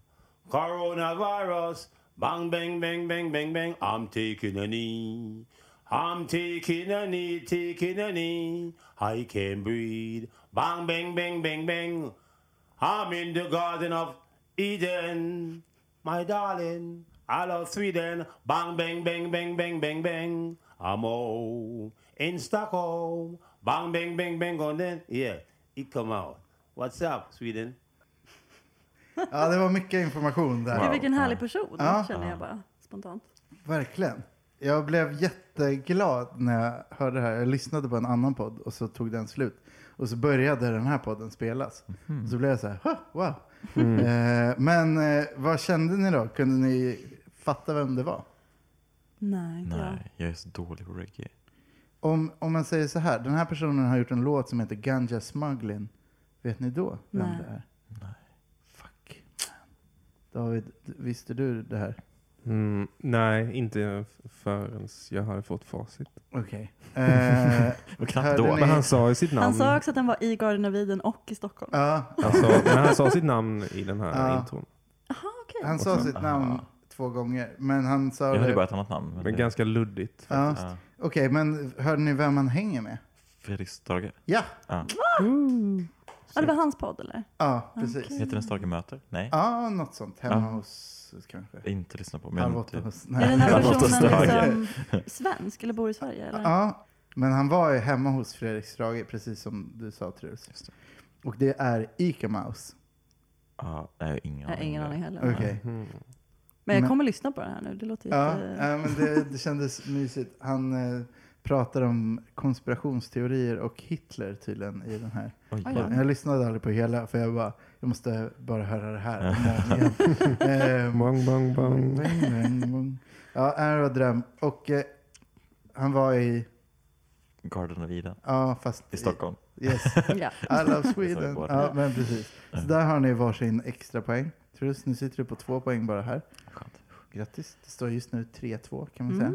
[SPEAKER 5] coronavirus. Bang, bang, bang, bang, bang, bang. I'm taking a knee. I'm taking a knee, taking a knee. I can't breathe. Bang, bang, bang, bang, bang. I'm in the garden of Eden, my darling. I love Sweden. Bang, bang, bang, bang, bang, bang, bang. I'm home in Stockholm. Bang, bang, bang, bang, on then. Yeah, it come out. What's up, Sweden?
[SPEAKER 2] Ja, det var mycket information där.
[SPEAKER 3] Gud, vilken härlig person,
[SPEAKER 2] Ja.
[SPEAKER 3] känner jag bara spontant.
[SPEAKER 2] Verkligen. Jag blev jätteglad när jag hörde det här. Jag lyssnade på en annan podd och så tog den slut. Och så började den här podden spelas.
[SPEAKER 4] Mm.
[SPEAKER 2] Och så blev jag så här, "Huh, wow.
[SPEAKER 3] Mm.
[SPEAKER 2] Eh, men eh, vad kände ni då? Kunde ni fatta vem det var?
[SPEAKER 3] Nej, inte jag.
[SPEAKER 4] Nej, jag är så dålig på reggae.
[SPEAKER 2] Om, om man säger så här, den här personen har gjort en låt som heter Ganja Smuggling. Vet ni då vem
[SPEAKER 3] Nej.
[SPEAKER 2] det är?
[SPEAKER 4] Nej.
[SPEAKER 2] Fuck. man. David, visste du det här?
[SPEAKER 1] Mm, nej, inte förrän jag hade fått facit.
[SPEAKER 2] Okej. Eh,
[SPEAKER 4] Och knappt
[SPEAKER 2] Hörde
[SPEAKER 4] då.
[SPEAKER 2] ni-
[SPEAKER 1] Men han sa ju sitt namn.
[SPEAKER 3] Han sa också att den var i Garden of Eden och i Stockholm.
[SPEAKER 2] ja,
[SPEAKER 1] Alltså, men han sa sitt namn i den här
[SPEAKER 2] Ja.
[SPEAKER 1] intron.
[SPEAKER 3] Jaha, okej.
[SPEAKER 2] han sa sitt namn
[SPEAKER 4] Aha.
[SPEAKER 3] ah.
[SPEAKER 2] två gånger. Men han sa
[SPEAKER 4] Jag hade
[SPEAKER 2] det-
[SPEAKER 4] bara ett annat namn. Men
[SPEAKER 1] Men
[SPEAKER 4] det-
[SPEAKER 1] ganska luddigt.
[SPEAKER 2] Ja.
[SPEAKER 1] faktiskt.
[SPEAKER 4] Ja.
[SPEAKER 2] Okej, men hörde ni vem han hänger med?
[SPEAKER 4] Fredrik Strage.
[SPEAKER 2] Ja,
[SPEAKER 3] Ja, det var hans podd eller?
[SPEAKER 2] ja precis.
[SPEAKER 3] Ah, Okej. Ah.
[SPEAKER 4] Heter den Strage möter? Nej.
[SPEAKER 2] Ja, något sånt. Hemma
[SPEAKER 4] Ja.
[SPEAKER 2] hos kanske.
[SPEAKER 4] Inte lyssna på. Men typ-
[SPEAKER 2] Halv
[SPEAKER 4] jag
[SPEAKER 2] åtta
[SPEAKER 4] inte...
[SPEAKER 2] hos...
[SPEAKER 3] typ.
[SPEAKER 2] (laughs)
[SPEAKER 3] Är den här
[SPEAKER 4] Han var
[SPEAKER 3] personen
[SPEAKER 4] Strage.
[SPEAKER 3] liksom svensk eller bor i Sverige? Eller?
[SPEAKER 2] Ja, men han var ju hemma hos Fredrik Strage, precis som du sa Truls.
[SPEAKER 4] Just det.
[SPEAKER 2] Och det är Ica Mouse.
[SPEAKER 4] Ja, nej, jag har ingen
[SPEAKER 3] Jag har ingen aning heller.
[SPEAKER 2] Okej.
[SPEAKER 1] Mm.
[SPEAKER 3] Men jag
[SPEAKER 2] Men-
[SPEAKER 3] kommer lyssna på det här nu. Det låter
[SPEAKER 2] Ja,
[SPEAKER 3] jätte...
[SPEAKER 2] ja, men det, det kändes mysigt. Han eh, pratar om konspirationsteorier och Hitler tydligen i den här.
[SPEAKER 4] Oj,
[SPEAKER 3] Oj då.
[SPEAKER 4] ja.
[SPEAKER 2] Jag lyssnade aldrig på hela, för jag bara, jag måste bara höra det
[SPEAKER 4] (laughs)
[SPEAKER 2] här. eh,
[SPEAKER 1] Bang, bang,
[SPEAKER 2] Bang,
[SPEAKER 1] bang.
[SPEAKER 2] bang, bang, bang. Ja, här var dröm. Och eh, han var i,
[SPEAKER 4] Garden of Eden.
[SPEAKER 2] ja fast...
[SPEAKER 4] I Stockholm.
[SPEAKER 2] Yes,
[SPEAKER 4] (laughs)
[SPEAKER 3] Ja.
[SPEAKER 2] I love
[SPEAKER 4] Det sa vi
[SPEAKER 2] Sweden.
[SPEAKER 4] båda.
[SPEAKER 2] Ja, men precis. Så där har ni varsin extra poäng. Truls, nu sitter du på två poäng bara här.
[SPEAKER 4] Skönt.
[SPEAKER 2] Grattis, det står just nu 3-2 kan man
[SPEAKER 3] Mm.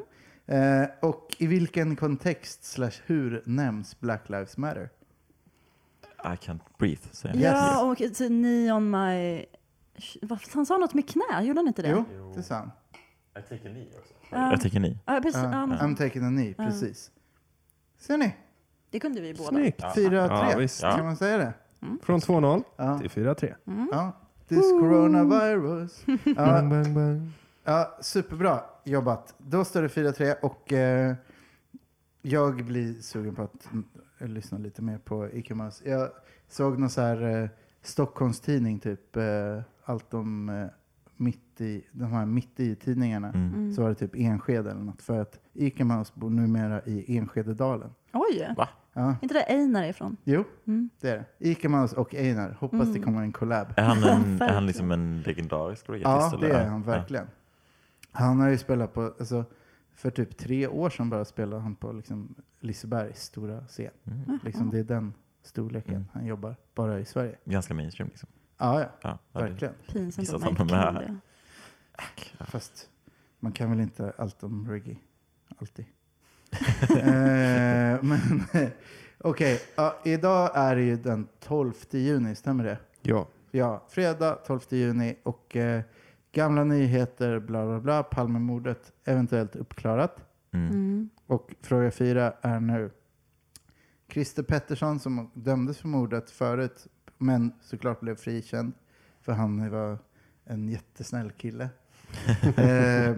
[SPEAKER 2] säga. Eh, och i vilken kontext slash hur nämns Black Lives Matter?
[SPEAKER 4] I can't breathe, säger han.
[SPEAKER 2] Yes.
[SPEAKER 3] Ja, och it's a knee on my... Vad- Han sa något med knä, gjorde han inte det?
[SPEAKER 2] Jo, det är sant.
[SPEAKER 4] Jag tänker ni också.
[SPEAKER 3] Ja.
[SPEAKER 4] Jag tänker ni.
[SPEAKER 3] Ja, precis,
[SPEAKER 2] Ja,
[SPEAKER 3] ja,
[SPEAKER 2] I'm taking a knee,
[SPEAKER 3] Ja.
[SPEAKER 2] precis. Ser ni?
[SPEAKER 3] det kunde vi båda.
[SPEAKER 1] Snyggt!
[SPEAKER 2] 4-3,
[SPEAKER 1] Ja, visst.
[SPEAKER 2] kan man säga det?
[SPEAKER 1] Från 2-0
[SPEAKER 2] Ja.
[SPEAKER 1] till 4-3.
[SPEAKER 3] Mm.
[SPEAKER 2] ja. This
[SPEAKER 3] (laughs)
[SPEAKER 2] coronavirus. Ja,
[SPEAKER 1] Bang, bang, bang.
[SPEAKER 2] ja, superbra jobbat. Då står det 4-3 och eh, jag blir sugen på att mm, lyssna lite mer på Ike Mouse. Jag såg någon så här eh, Stockholmstidning, typ eh, allt om eh, mitt i, de här mitt i-tidningarna.
[SPEAKER 4] Mm.
[SPEAKER 3] Mm.
[SPEAKER 2] Så var det typ Enskede eller något. För att Ike Mouse bor numera i Enskededalen.
[SPEAKER 3] Oj!
[SPEAKER 2] Ja,
[SPEAKER 3] inte det Einar är ifrån?
[SPEAKER 2] jo,
[SPEAKER 3] Mm.
[SPEAKER 2] det är det. Ike Mouse och Einar. Hoppas det
[SPEAKER 3] Mm.
[SPEAKER 2] kommer en collab.
[SPEAKER 4] Är
[SPEAKER 3] (laughs)
[SPEAKER 4] han, en, är han
[SPEAKER 3] Verkligen.
[SPEAKER 4] liksom en legendarisk
[SPEAKER 2] Ja,
[SPEAKER 4] reggaeartist?
[SPEAKER 2] det
[SPEAKER 4] eller?
[SPEAKER 2] är han verkligen. Han har ju spelat på, alltså, för typ tre år sedan bara spelade han på liksom, Lisebergs stora scen.
[SPEAKER 4] Ja. Mm.
[SPEAKER 2] Liksom, det är den storleken
[SPEAKER 4] Mm.
[SPEAKER 2] han jobbar, bara i Sverige.
[SPEAKER 4] Ganska mainstream liksom.
[SPEAKER 2] Ja, ja,
[SPEAKER 4] Ja, ja, det-
[SPEAKER 2] verkligen.
[SPEAKER 3] Pinsamt
[SPEAKER 4] Gissa
[SPEAKER 3] att man inte
[SPEAKER 4] att
[SPEAKER 3] kan
[SPEAKER 4] han är
[SPEAKER 3] det.
[SPEAKER 2] Fast man kan väl inte allt om reggae,
[SPEAKER 4] (laughs)
[SPEAKER 2] alltid. eh, men (laughs) okej, ja, idag är det ju den 12 juni, stämmer det?
[SPEAKER 1] Ja,
[SPEAKER 2] Ja, fredag 12 juni och eh, gamla nyheter, bla bla bla, Palmemordet eventuellt uppklarat.
[SPEAKER 4] Mm.
[SPEAKER 3] Mm.
[SPEAKER 2] Och fråga fyra är nu. Christer Pettersson som dömdes för mordet förut, men såklart blev frikänd för han var en jättesnäll kille. eh,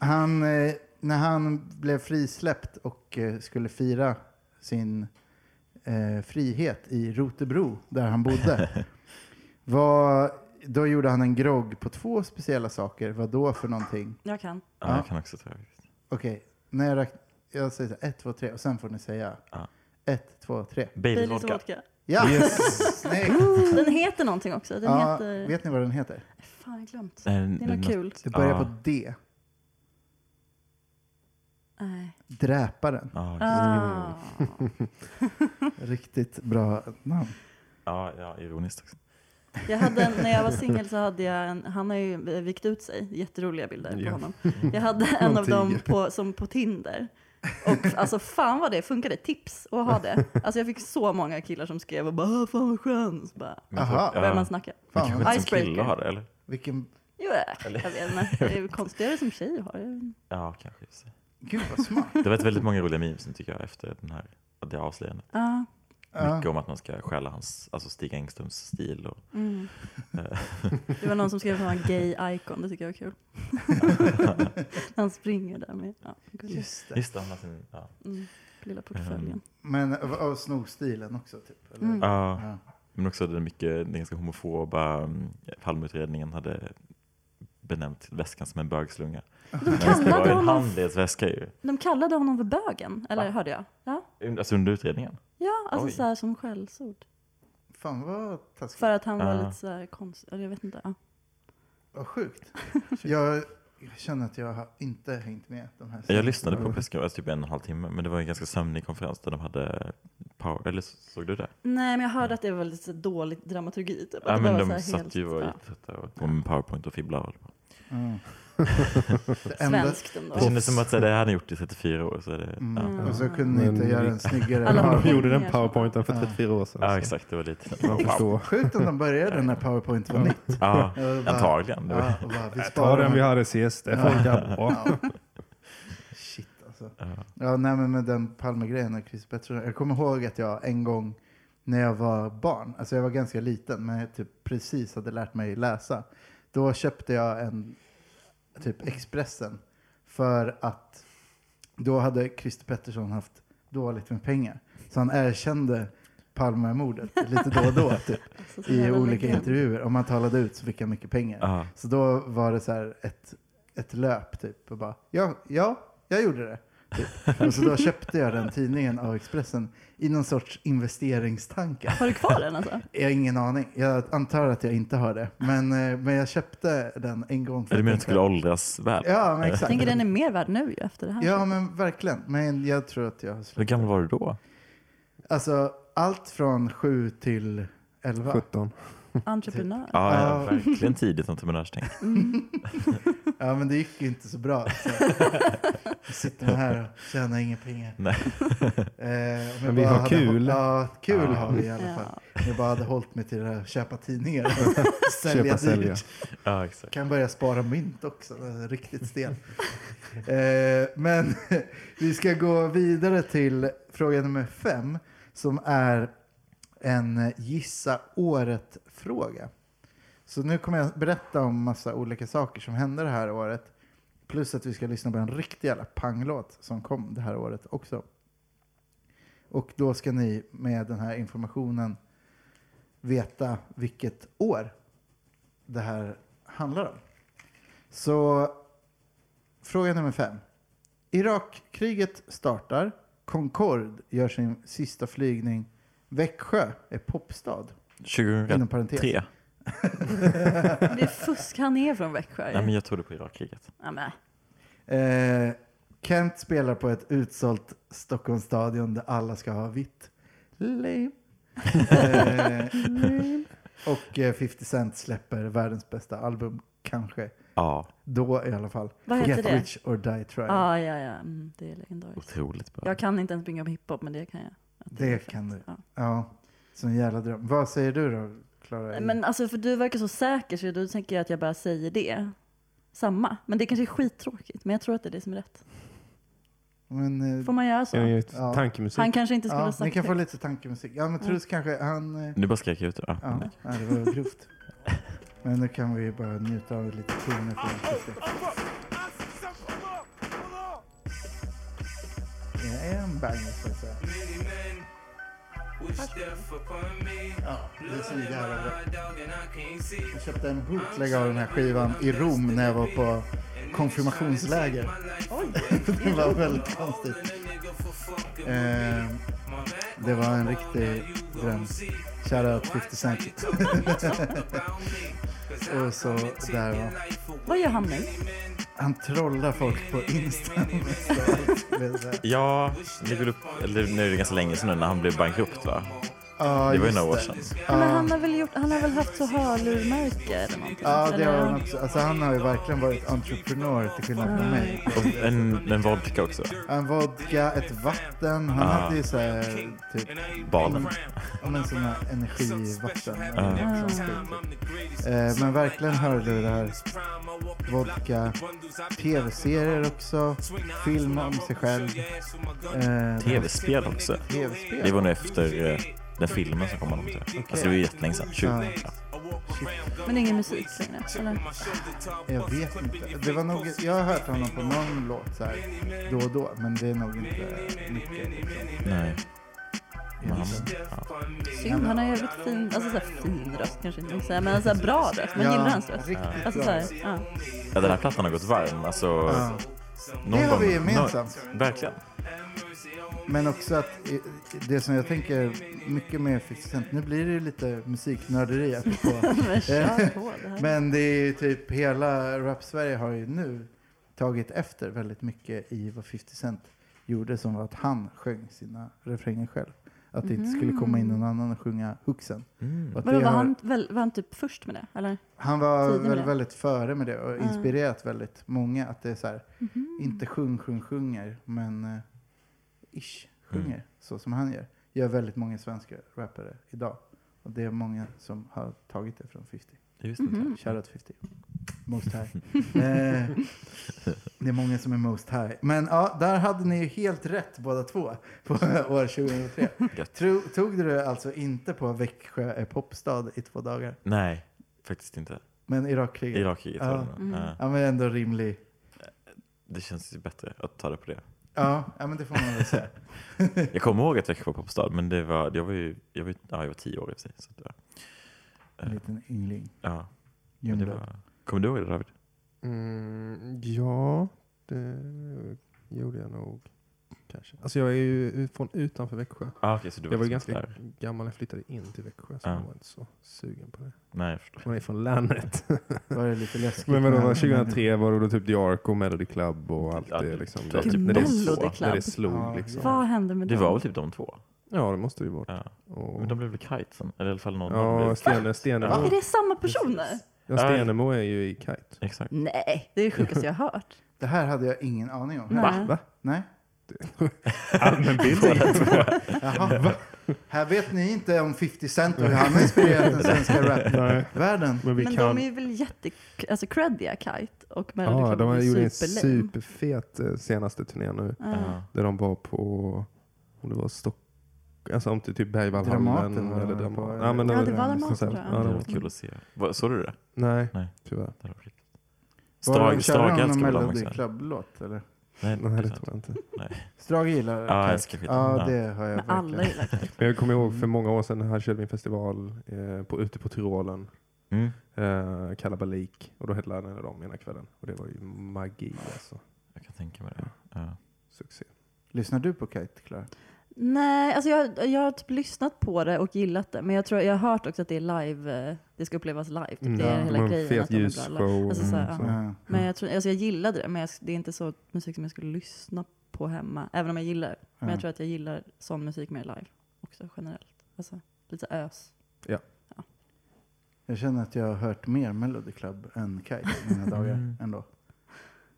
[SPEAKER 2] han, eh, när han blev frisläppt och eh, skulle fira sin eh, frihet i Rotebro, där han bodde, var, då gjorde han en grogg på två speciella saker. Vad då för någonting?
[SPEAKER 3] Jag kan.
[SPEAKER 4] Ja,
[SPEAKER 2] Ja.
[SPEAKER 4] jag kan också tro det.
[SPEAKER 2] Okej, när jag räknar. Jag säger så här, ett, två, tre och sen får ni säga.
[SPEAKER 4] Ja.
[SPEAKER 2] Ett, två, tre.
[SPEAKER 4] Baileys
[SPEAKER 3] Baileys
[SPEAKER 4] vodka.
[SPEAKER 3] vodka.
[SPEAKER 2] Ja! (laughs) Snyggt!
[SPEAKER 3] Den heter någonting också. Den
[SPEAKER 2] Ja,
[SPEAKER 3] heter...
[SPEAKER 2] Vet ni vad den heter?
[SPEAKER 3] Fan, jag har glömt.
[SPEAKER 4] Eh,
[SPEAKER 3] Det är något kul.
[SPEAKER 2] Det börjar
[SPEAKER 4] Ja.
[SPEAKER 2] på D.
[SPEAKER 3] Nej.
[SPEAKER 2] Dräparen.
[SPEAKER 4] Ja, just det.
[SPEAKER 3] Ah.
[SPEAKER 2] Riktigt bra namn.
[SPEAKER 4] ja, ja, ironiskt också.
[SPEAKER 3] Jag hade, en- när jag var singel så hade jag en, han har ju vikt ut sig, jätteroliga bilder på
[SPEAKER 1] Ja.
[SPEAKER 3] honom. Jag hade en av
[SPEAKER 2] Någonting.
[SPEAKER 3] dem på, som på Tinder. Och alltså fan vad det funkade, tips att ha det. Alltså jag fick så många killar som skrev och bara "Ah, fan vad skön. Så bara,
[SPEAKER 4] Men jag
[SPEAKER 2] Aha.
[SPEAKER 4] tror-
[SPEAKER 3] började man
[SPEAKER 4] Ja.
[SPEAKER 3] snacka.
[SPEAKER 4] Men
[SPEAKER 2] Fan,
[SPEAKER 4] kanske
[SPEAKER 2] vad-
[SPEAKER 4] inte som kille
[SPEAKER 3] Icebreaker.
[SPEAKER 4] har det, eller?
[SPEAKER 2] vilken...
[SPEAKER 3] Jo, äh, jag vet inte. Det är ju konstigare som tjej har det.
[SPEAKER 4] Ja, kanske. i och för sig.
[SPEAKER 2] Gud vad smart.
[SPEAKER 4] Det har varit väldigt många roliga memes nu, tycker jag efter den här, det avslöjandet.
[SPEAKER 3] Ja,
[SPEAKER 2] Ja.
[SPEAKER 4] Mycket om att man ska stjäla hans, alltså Stig Engströms stil. Och, eh,
[SPEAKER 3] mm. Det var någon som skrev att han var en gay icon, det tycker jag var kul. Han springer där med ja, gullig-
[SPEAKER 2] Just det.
[SPEAKER 4] just det, han har sin, ja.
[SPEAKER 3] mm, lilla portföljen.
[SPEAKER 2] Men av- av snorstilen också typ? Eller?
[SPEAKER 3] Mm.
[SPEAKER 4] Ja,
[SPEAKER 2] Ja.
[SPEAKER 4] men också den, mycket, den ganska homofoba mm, Palmeutredningen hade benämnt väskan som en bögslunga.
[SPEAKER 3] De
[SPEAKER 4] Men det var
[SPEAKER 3] kallade
[SPEAKER 4] ju en
[SPEAKER 3] honom
[SPEAKER 4] handledsväska ju.
[SPEAKER 3] De kallade honom för bögen, eller
[SPEAKER 4] Va?
[SPEAKER 3] hörde jag? Ja,
[SPEAKER 4] Alltså under utredningen.
[SPEAKER 3] ja alltså
[SPEAKER 4] Oj.
[SPEAKER 3] så här som skällsord.
[SPEAKER 2] Fan vad taskigt.
[SPEAKER 3] För att han var
[SPEAKER 4] Ah.
[SPEAKER 3] lite så här konstig, eller jag vet inte. Ja.
[SPEAKER 2] Vad
[SPEAKER 3] (laughs)
[SPEAKER 2] sjukt. Jag, jag känner att jag har inte hängt med de här.
[SPEAKER 4] Jag lyssnade på presskonferensen alltså typ en och en halv timme, men det var en ganska sömnig konferens där de hade power, eller så- såg du det?
[SPEAKER 3] Nej, men jag hörde att det var lite så här dålig dramaturgi. Typ. Att
[SPEAKER 4] Ja,
[SPEAKER 3] det
[SPEAKER 4] men
[SPEAKER 3] bara var
[SPEAKER 4] de
[SPEAKER 3] så här
[SPEAKER 4] satt ju och
[SPEAKER 3] ja.
[SPEAKER 4] gick och på med powerpoint och fibblade. (laughs)
[SPEAKER 2] Mm. Det enda-
[SPEAKER 3] Svenskt ändå.
[SPEAKER 4] Det kändes som att så här, det här hade gjort i 34 år. Så är det, ja.
[SPEAKER 2] Mm. Och så kunde ni
[SPEAKER 1] Men-
[SPEAKER 2] inte göra en snyggare.
[SPEAKER 3] Alla
[SPEAKER 1] de
[SPEAKER 3] har-
[SPEAKER 1] gjorde den powerpointen för 34 år sedan.
[SPEAKER 4] ja,
[SPEAKER 1] så
[SPEAKER 4] exakt. Det var lite...
[SPEAKER 1] Man förstår.
[SPEAKER 2] Sjukt om de började när PowerPoint var nytt.
[SPEAKER 4] Ja,
[SPEAKER 2] Jag bara-
[SPEAKER 4] antagligen. Det var,
[SPEAKER 2] Ja, och bara, vi
[SPEAKER 1] Ta
[SPEAKER 2] sparar
[SPEAKER 1] den
[SPEAKER 2] den.
[SPEAKER 1] vi hade sist, det (laughs)
[SPEAKER 2] Ja.
[SPEAKER 1] funkar bra.
[SPEAKER 2] Ja. (laughs) Shit alltså.
[SPEAKER 4] ja.
[SPEAKER 2] Ja, nej, men med den Palmegrejen och Chris Pettersson. Jag kommer ihåg att jag en gång när jag var barn, alltså jag var ganska liten, men jag typ precis hade lärt mig läsa. Då köpte jag en typ Expressen för att då hade Christer Pettersson haft dåligt med pengar. Så han erkände Palmemordet lite då och
[SPEAKER 4] (laughs)
[SPEAKER 2] då typ,
[SPEAKER 3] Alltså, så
[SPEAKER 2] i
[SPEAKER 3] jävla
[SPEAKER 2] olika
[SPEAKER 3] mycket.
[SPEAKER 2] intervjuer. Om han talade ut så fick han mycket pengar.
[SPEAKER 4] Ja.
[SPEAKER 2] Så då var det så här ett, ett löp typ och bara ja, ja, jag gjorde det. Typ. Och så då köpte jag den tidningen av Expressen i någon sorts investeringstanke.
[SPEAKER 3] Har du kvar
[SPEAKER 2] (laughs)
[SPEAKER 3] den alltså?
[SPEAKER 2] Jag har ingen aning. Jag antar att jag inte har det. Men, eh, men jag köpte den en gång.
[SPEAKER 4] Är
[SPEAKER 2] för
[SPEAKER 4] du menar att
[SPEAKER 2] jag
[SPEAKER 4] det skulle
[SPEAKER 2] tänkte-
[SPEAKER 4] åldras väl?
[SPEAKER 2] Ja, men
[SPEAKER 3] Jag
[SPEAKER 2] exakt.
[SPEAKER 3] tänker den är mer värd nu ju efter det här.
[SPEAKER 2] Ja, men verkligen. Men jag tror att jag har
[SPEAKER 4] Hur
[SPEAKER 2] slut.
[SPEAKER 4] gammal var du då?
[SPEAKER 2] Alltså, allt från sju till elva.
[SPEAKER 1] 17.
[SPEAKER 3] Entreprenör. Mm.
[SPEAKER 4] Ja,
[SPEAKER 2] Ja.
[SPEAKER 4] ja, verkligen tidigt entreprenörstänk.
[SPEAKER 2] Ja, men det gick ju inte så bra.
[SPEAKER 1] (laughs)
[SPEAKER 2] Så. Jag sitter man här och tjänar inga pengar.
[SPEAKER 4] Nej.
[SPEAKER 2] Eh, om jag
[SPEAKER 1] Men vi
[SPEAKER 2] bara
[SPEAKER 1] har
[SPEAKER 2] hade
[SPEAKER 1] kul.
[SPEAKER 2] håll- Ja, kul
[SPEAKER 4] Ja.
[SPEAKER 2] har vi i alla fall.
[SPEAKER 3] Ja.
[SPEAKER 2] Om jag bara hade hållit mig till det här
[SPEAKER 1] (laughs)
[SPEAKER 2] köpa tidningar. och sälja
[SPEAKER 1] Köpa,
[SPEAKER 2] dyrt.
[SPEAKER 1] sälja.
[SPEAKER 4] Ja, exakt.
[SPEAKER 2] Kan börja spara mynt också. Det är Riktigt stel. (laughs) eh, men (laughs) vi ska gå vidare till fråga nummer fem som är en gissa året-fråga. Så nu kommer jag berätta om massa olika saker som hände det här året. Plus att vi ska lyssna på en riktig jävla panglåt som kom det här året också. Och då ska ni med den här informationen veta vilket år det här handlar om. Så fråga nummer fem. Irakkriget startar. Concorde gör sin sista flygning. Växjö är popstad. Inom
[SPEAKER 4] 2003.
[SPEAKER 2] parentes.
[SPEAKER 3] Det är fusk, han är från Växjö.
[SPEAKER 4] Nej, men jag tog det på Irakkriget.
[SPEAKER 3] Ja, men.
[SPEAKER 2] Eh, Kent spelar på ett utsålt Stockholmsstadion där alla ska ha vitt. Lame. Eh, (laughs) och eh, 50 Cent släpper världens bästa album, kanske.
[SPEAKER 4] Ja,
[SPEAKER 2] Då i alla fall.
[SPEAKER 3] Vad heter
[SPEAKER 2] Get
[SPEAKER 3] det?
[SPEAKER 2] Rich or Die Trying.
[SPEAKER 3] Ja, ja, ja. Mm, det är legendariskt.
[SPEAKER 4] otroligt bra.
[SPEAKER 3] Jag kan inte ens bringa upp hiphop, men det kan jag. Att
[SPEAKER 2] Det
[SPEAKER 3] är
[SPEAKER 2] kan
[SPEAKER 3] fett. Ja.
[SPEAKER 2] Ja, som en jävla dröm. Vad säger du då, Klara?
[SPEAKER 3] Nej, Men alltså, för du verkar så säker, så då tänker jag att jag bara säger det. Samma. Men det kanske är skittråkigt, men jag tror att det är det som är rätt.
[SPEAKER 2] Men, eh,
[SPEAKER 3] Får man göra så?
[SPEAKER 1] Jag är ju ett
[SPEAKER 2] Ja.
[SPEAKER 1] tankemusik.
[SPEAKER 3] Han kanske inte skulle ha
[SPEAKER 2] ja, ni
[SPEAKER 3] sagt
[SPEAKER 2] kan få
[SPEAKER 3] det. Mm.
[SPEAKER 2] lite tankemusik. Ja, men Truls kanske, han... eh,
[SPEAKER 4] Nu bara skrek jag ut det. Ja,
[SPEAKER 2] Ja,
[SPEAKER 4] men det-
[SPEAKER 2] ja, det var grovt. Men nu kan vi bara njuta av lite toner från Christer. Det är en banger, så att säga. Ja, det är så jävla bra. Jag köpte en bootleg av den här skivan i Rom när jag var på konfirmationsläger. (laughs) det var väldigt konstigt. Eh, det var en riktig dröm. Shoutout 50 Cent. (laughs) Och så där var.
[SPEAKER 3] Vad gör han nu?
[SPEAKER 2] Han trollar folk på Insta. mest av allt, vill jag säga.
[SPEAKER 4] Ja, det går upp, eller nu är det ganska länge sedan nu när han blev bankrupt va?
[SPEAKER 2] Ja,
[SPEAKER 4] Det var ju
[SPEAKER 2] just
[SPEAKER 4] några år
[SPEAKER 2] det.
[SPEAKER 4] sedan.
[SPEAKER 3] Men
[SPEAKER 2] Ja.
[SPEAKER 3] han har väl, gjort, han har väl haft så hörlurmärke eller någonting?
[SPEAKER 2] Ja, det har
[SPEAKER 3] Eller-
[SPEAKER 2] han också. Alltså, han har ju verkligen varit entreprenör till skillnad från mig.
[SPEAKER 4] Och en, en vodka också.
[SPEAKER 2] En vodka, ett vatten. Han
[SPEAKER 4] Ah.
[SPEAKER 2] hade ju så här, typ,
[SPEAKER 4] Balen.
[SPEAKER 2] ja, men såna här energivatten.
[SPEAKER 4] Ah.
[SPEAKER 2] eller något sånt skit. Eh, Men verkligen hörlurar, vodka, tv-serier också, film om sig själv. Eh,
[SPEAKER 4] Tv-spel också.
[SPEAKER 2] Tv-spel?
[SPEAKER 4] Det var nu efter eh, den filmen som kom honom till. Alltså det var ju jättelänge sedan. 20.
[SPEAKER 2] Ja.
[SPEAKER 4] Ja.
[SPEAKER 3] Men ingen musik längre? Eller?
[SPEAKER 2] Jag vet inte. Det var nog, jag har hört honom på någon låt så här, då och då, men det är nog inte mycket. Liksom.
[SPEAKER 4] Nej. Men han,
[SPEAKER 3] Synd, han har ju jävligt fin, alltså såhär fin röst kanske inte vill säga, men såhär bra röst. Man gillar hans röst.
[SPEAKER 2] riktigt
[SPEAKER 3] Alltså
[SPEAKER 2] bra.
[SPEAKER 3] såhär, ja. (laughs)
[SPEAKER 4] ja, den här plattan har gått varm. Alltså,
[SPEAKER 2] Ja.
[SPEAKER 4] någon
[SPEAKER 2] Ah. Det har vi
[SPEAKER 4] gång-
[SPEAKER 2] gemensamt.
[SPEAKER 4] nå- verkligen.
[SPEAKER 2] Men också att eh, det som jag tänker mycket med 50 Cent, nu blir det ju lite musiknörderi apropå.
[SPEAKER 3] Men kör på det
[SPEAKER 2] (laughs)
[SPEAKER 3] här.
[SPEAKER 2] Men det är ju typ hela Rap-Sverige har ju nu tagit efter väldigt mycket i vad 50 Cent gjorde som var att han sjöng sina refränger själv. Att det inte skulle komma in någon annan och sjunga
[SPEAKER 4] Mm.
[SPEAKER 2] hooksen. Och att
[SPEAKER 3] Mm. Vadå,
[SPEAKER 2] det
[SPEAKER 3] var
[SPEAKER 2] har-
[SPEAKER 3] han, väl, var han typ först med det? Eller?
[SPEAKER 2] han var
[SPEAKER 3] tidig med
[SPEAKER 2] väl
[SPEAKER 3] det?
[SPEAKER 2] väldigt före med det och
[SPEAKER 3] Ja. Mm.
[SPEAKER 2] inspirerat väldigt många. Att det är så här, Mm-hmm. inte sjung, sjung, sjunger, men eh, ish, sjunger. Så som han gör. Gör väldigt många svenska rappare idag. Och det är många som har tagit det från 50.
[SPEAKER 4] Jag visste
[SPEAKER 3] Mm-hmm.
[SPEAKER 4] inte.
[SPEAKER 2] Shoutout 50. Mm. Most
[SPEAKER 4] (laughs)
[SPEAKER 2] high. eh, det är många som är most high. Men ja, där hade ni ju helt rätt båda två på (laughs) år 2003.
[SPEAKER 4] Gött.
[SPEAKER 2] Tro, tog du det alltså inte på Växjö är popstad i två dagar?
[SPEAKER 4] Nej, faktiskt inte.
[SPEAKER 2] Men Irakkriget?
[SPEAKER 4] Irakkriget var det
[SPEAKER 2] Ja. Mm.
[SPEAKER 4] nog. Ja.
[SPEAKER 2] Ja, men ändå rimlig.
[SPEAKER 4] Det känns ju bättre att ta det på det.
[SPEAKER 2] Ja, ja men det får man väl
[SPEAKER 4] (laughs)
[SPEAKER 2] säga.
[SPEAKER 4] Jag kommer ihåg att Växjö var popstad, men det var, jag, var ju, jag, var, ju- ja, jag var tio år i och för sig. Så att, det var-
[SPEAKER 2] En liten yngling.
[SPEAKER 4] ja, men det
[SPEAKER 2] Ljungblad.
[SPEAKER 4] var, kommer du ihåg det David?
[SPEAKER 1] Mm, ja, det gjorde jag nog. Kanske. Alltså jag är ju från utanför Växjö.
[SPEAKER 4] Ah, okay, så du
[SPEAKER 1] Jag var ju
[SPEAKER 4] liksom
[SPEAKER 1] ganska
[SPEAKER 4] där.
[SPEAKER 1] gammal när jag flyttade in till Växjö. Så
[SPEAKER 4] Ja.
[SPEAKER 1] jag var inte så sugen på det.
[SPEAKER 4] Nej, jag förstår.
[SPEAKER 1] Man är från länet.
[SPEAKER 2] Var det lite läskigt?
[SPEAKER 1] Men vadå,
[SPEAKER 2] med-
[SPEAKER 1] 2003 var det då typ The Ark och Melody Club och allt
[SPEAKER 4] Ja,
[SPEAKER 1] det
[SPEAKER 4] det-
[SPEAKER 1] liksom.
[SPEAKER 4] det var
[SPEAKER 1] Det-
[SPEAKER 4] typ
[SPEAKER 1] när, det
[SPEAKER 4] Melody
[SPEAKER 1] slog,
[SPEAKER 3] Club.
[SPEAKER 1] när det slog
[SPEAKER 2] Ja,
[SPEAKER 1] liksom.
[SPEAKER 3] Vad hände med
[SPEAKER 4] Det
[SPEAKER 3] dem?
[SPEAKER 4] var väl typ de två?
[SPEAKER 1] Ja, det måste det ju vara.
[SPEAKER 4] Ja.
[SPEAKER 1] Och,
[SPEAKER 4] Men de blev väl kite sen? Eller i alla fall någon av dem
[SPEAKER 1] ja,
[SPEAKER 4] blev
[SPEAKER 1] Stene, Stenemo.
[SPEAKER 4] Ja.
[SPEAKER 3] Är det samma personer?
[SPEAKER 1] Ja, Stenemo är ju i Kite.
[SPEAKER 4] Exakt.
[SPEAKER 3] Nej, det är det sjukaste jag har hört.
[SPEAKER 2] Det här hade jag ingen aning om.
[SPEAKER 3] Nej.
[SPEAKER 1] Va? Va?
[SPEAKER 2] Nej.
[SPEAKER 4] Allmänbildning.
[SPEAKER 2] (laughs) Jaha, va? Här vet ni inte om 50 Cent och hur han har inspirerat den
[SPEAKER 1] (laughs)
[SPEAKER 2] svenska
[SPEAKER 1] Nej.
[SPEAKER 2] rapvärlden.
[SPEAKER 1] Men vi
[SPEAKER 3] Men
[SPEAKER 1] kan...
[SPEAKER 3] de är väl jätte... Alltså creddiga Kite och Melody
[SPEAKER 1] Ja, de
[SPEAKER 3] Club
[SPEAKER 1] har
[SPEAKER 3] är
[SPEAKER 1] gjort en
[SPEAKER 3] superlame.
[SPEAKER 1] superfet eh, senaste turné nu.
[SPEAKER 3] Ja.
[SPEAKER 1] Där de var på, om det var Stockholm, alltså om det typ
[SPEAKER 2] Dramaten
[SPEAKER 1] Bergvallhallen
[SPEAKER 2] var de
[SPEAKER 1] eller
[SPEAKER 2] på,
[SPEAKER 1] Dramaten.
[SPEAKER 2] eller-
[SPEAKER 1] Ja, men
[SPEAKER 3] Ja, det
[SPEAKER 1] var-
[SPEAKER 3] var Dramaten,
[SPEAKER 1] konsert.
[SPEAKER 3] tror jag.
[SPEAKER 1] Ja,
[SPEAKER 4] Ja,
[SPEAKER 1] det
[SPEAKER 4] det
[SPEAKER 1] var-
[SPEAKER 4] var kul att se. Vad- Såg du det?
[SPEAKER 1] Nej,
[SPEAKER 4] Nej.
[SPEAKER 1] tyvärr.
[SPEAKER 4] Det var kul.
[SPEAKER 2] Var de
[SPEAKER 4] Strage,
[SPEAKER 2] körde
[SPEAKER 4] Strage
[SPEAKER 2] de någon
[SPEAKER 4] älskar väl dem
[SPEAKER 2] Melody
[SPEAKER 4] också?
[SPEAKER 2] Club-låt eller?
[SPEAKER 4] Nej,
[SPEAKER 1] Nej, det
[SPEAKER 4] sant.
[SPEAKER 1] tror jag inte.
[SPEAKER 2] Strage gillar
[SPEAKER 4] Ja, jag
[SPEAKER 2] Kite.
[SPEAKER 4] älskar skiten.
[SPEAKER 2] Ja,
[SPEAKER 4] Ja.
[SPEAKER 2] det har jag
[SPEAKER 3] Men alla
[SPEAKER 2] verkligen.
[SPEAKER 3] gillar Kite.
[SPEAKER 1] Men jag kommer ihåg för många år sedan när han körde min festival eh, på, ute på Tyrolen.
[SPEAKER 4] Mm.
[SPEAKER 1] Eh, Kalabalik. Och då headlinade de ena kvällen. Och det var ju magi alltså.
[SPEAKER 4] Jag kan tänka mig det. Ja.
[SPEAKER 1] Succé.
[SPEAKER 2] Lyssnar du på Kite, Clara?
[SPEAKER 3] Nej, alltså jag, jag har typ lyssnat på det och gillat det. Men jag tror jag har hört också att det är live, eh, det ska upplevas live. Typ. det är
[SPEAKER 2] Ja,
[SPEAKER 3] hela
[SPEAKER 1] men
[SPEAKER 3] grejen. att
[SPEAKER 1] Fet
[SPEAKER 3] de är bra live.
[SPEAKER 1] ljusshow.
[SPEAKER 3] Alltså så här,
[SPEAKER 1] Mm,
[SPEAKER 3] ja.
[SPEAKER 1] så.
[SPEAKER 2] Ja.
[SPEAKER 3] Men jag, tror, alltså jag gillade det, men jag, det är inte så musik som jag skulle lyssna på hemma. Även om jag gillar. Men
[SPEAKER 2] Ja.
[SPEAKER 3] jag tror att jag gillar sån musik mer live också generellt. Alltså lite ös.
[SPEAKER 2] Jag känner att jag har hört mer Melody Club än Kite i mina dagar
[SPEAKER 4] Mm.
[SPEAKER 2] ändå.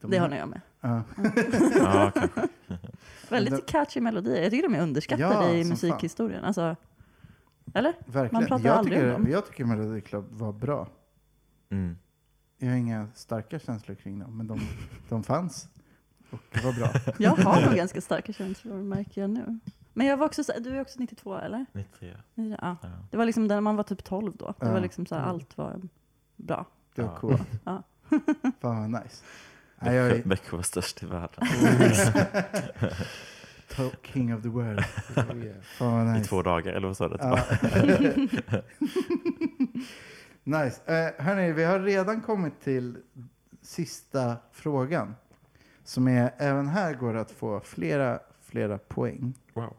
[SPEAKER 2] De-
[SPEAKER 3] Det har nog jag med.
[SPEAKER 2] Ja.
[SPEAKER 4] ja, kanske.
[SPEAKER 3] Väldigt catchy melodier. Jag tycker de är underskattade
[SPEAKER 2] Ja,
[SPEAKER 3] i
[SPEAKER 2] som
[SPEAKER 3] musikhistorien. Alltså, eller?
[SPEAKER 2] Verkligen.
[SPEAKER 3] Man pratar
[SPEAKER 2] jag,
[SPEAKER 3] aldrig
[SPEAKER 2] tycker,
[SPEAKER 3] om dem.
[SPEAKER 2] jag tycker Melody Club var bra.
[SPEAKER 4] Mm.
[SPEAKER 2] Jag har inga starka känslor kring dem, men de, de fanns. Och det var bra.
[SPEAKER 3] Jag
[SPEAKER 2] (laughs)
[SPEAKER 3] har nog ganska starka känslor märker jag nu. Men jag var också så, du är också 92 eller?
[SPEAKER 4] 93.
[SPEAKER 3] Ja.
[SPEAKER 4] Ja.
[SPEAKER 3] Det var liksom när man var typ 12 då. Det
[SPEAKER 2] Ja. Mm.
[SPEAKER 3] var liksom så här, allt var bra.
[SPEAKER 2] Det var
[SPEAKER 4] Ja.
[SPEAKER 2] coolt.
[SPEAKER 3] Ja.
[SPEAKER 2] Fan vad nice. Nej, jag
[SPEAKER 4] Växjö,
[SPEAKER 2] är
[SPEAKER 4] Växjö var störst i världen
[SPEAKER 2] to- (laughs) king of the world.
[SPEAKER 1] Oh, yeah.
[SPEAKER 2] Fan vad nice.
[SPEAKER 4] i två dagar, eller vad sa du? (laughs)
[SPEAKER 2] Ja. nice. Eh, hörni, vi har redan kommit till sista frågan. Som är, även här går det att få flera, flera poäng.
[SPEAKER 4] Wow.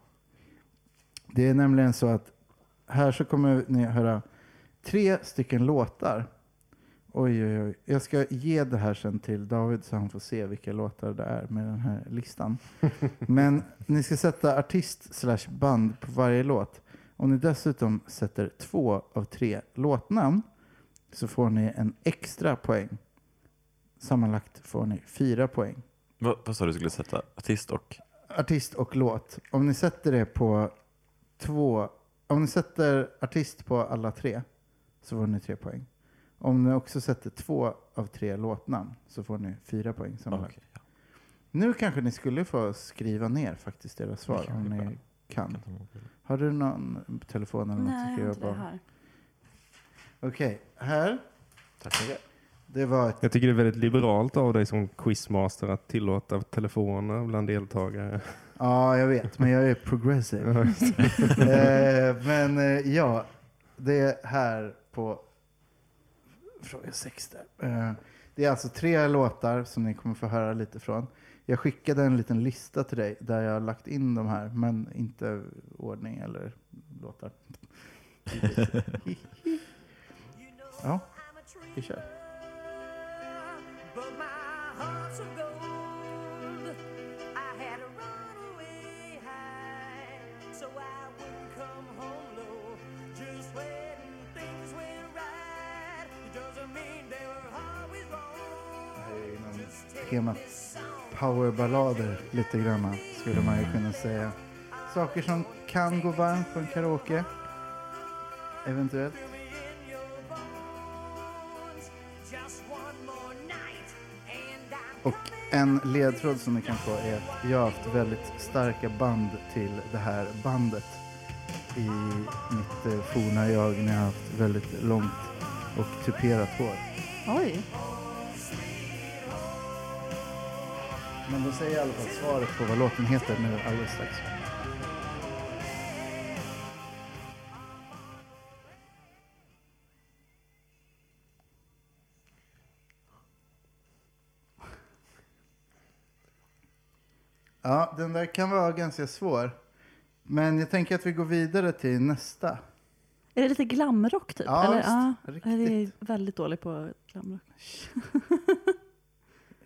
[SPEAKER 2] Det är nämligen så att här så kommer ni att höra tre stycken låtar. Oj, oj, oj. Jag ska ge det här sen till David så han får se vilka låtar det är med den här listan. Men ni ska sätta artist slash band på varje låt. Om ni dessutom sätter två av tre låtnamn så får ni en extra poäng. Sammanlagt får ni fyra poäng.
[SPEAKER 4] Vad, vad sa du skulle sätta? Artist och...
[SPEAKER 2] Artist och låt. Om ni sätter det på två... Om ni sätter artist på alla tre så får ni tre poäng. Om ni också sätter två av tre låtnamn så får ni fyra poäng sammanlagt.
[SPEAKER 4] Okej, ja.
[SPEAKER 2] Nu kanske ni skulle få skriva ner faktiskt era svar
[SPEAKER 4] Det
[SPEAKER 2] om
[SPEAKER 4] kanske är
[SPEAKER 2] ni
[SPEAKER 4] bra.
[SPEAKER 2] kan.
[SPEAKER 4] Kan ta mobilen.
[SPEAKER 2] Har du någon telefon eller något?
[SPEAKER 3] Nej,
[SPEAKER 2] Ska
[SPEAKER 3] jag har
[SPEAKER 2] jag
[SPEAKER 3] inte det
[SPEAKER 2] bara-
[SPEAKER 3] här.
[SPEAKER 2] Okej, här.
[SPEAKER 4] Tack så mycket.
[SPEAKER 2] Det var ett...
[SPEAKER 1] (laughs) Jag tycker det är väldigt liberalt av dig som quizmaster att tillåta telefoner bland deltagare.
[SPEAKER 2] Ja, jag vet, men jag är progressive. (laughs) eh, men eh, ja, det är här på fråga 6 där. Eh, det är alltså tre låtar som ni kommer få höra lite från. Jag skickade en liten lista till dig där jag har lagt in de här, men inte ordning eller låtar. ja, vi kör.
[SPEAKER 6] But my heart's of gold. I had a runaway high, so I wouldn't come home low. Just when things went right, it doesn't mean they were always
[SPEAKER 2] Det
[SPEAKER 6] wrong.
[SPEAKER 2] här är inom temat powerballader lite grann skulle man ju kunna säga. Saker som kan gå varmt på en karaoke. Eventuellt.
[SPEAKER 6] Feel me in your bones. Just one more night, and I'm
[SPEAKER 2] Och en ledtråd som ni kan få är att jag har haft väldigt starka band till det här bandet i mitt eh, forna jag när jag har haft väldigt långt och tuperat hår.
[SPEAKER 3] Oj.
[SPEAKER 2] Men de säger i alla fall svaret på vad låten heter nu alldeles strax. Ja, den där kan vara ganska svår. Men jag tänker att vi går vidare till nästa.
[SPEAKER 3] Är det lite glamrock typ?
[SPEAKER 2] Ja,
[SPEAKER 3] eller?
[SPEAKER 2] just,
[SPEAKER 3] ja,
[SPEAKER 2] riktigt.
[SPEAKER 3] jag är väldigt dålig på glamrock.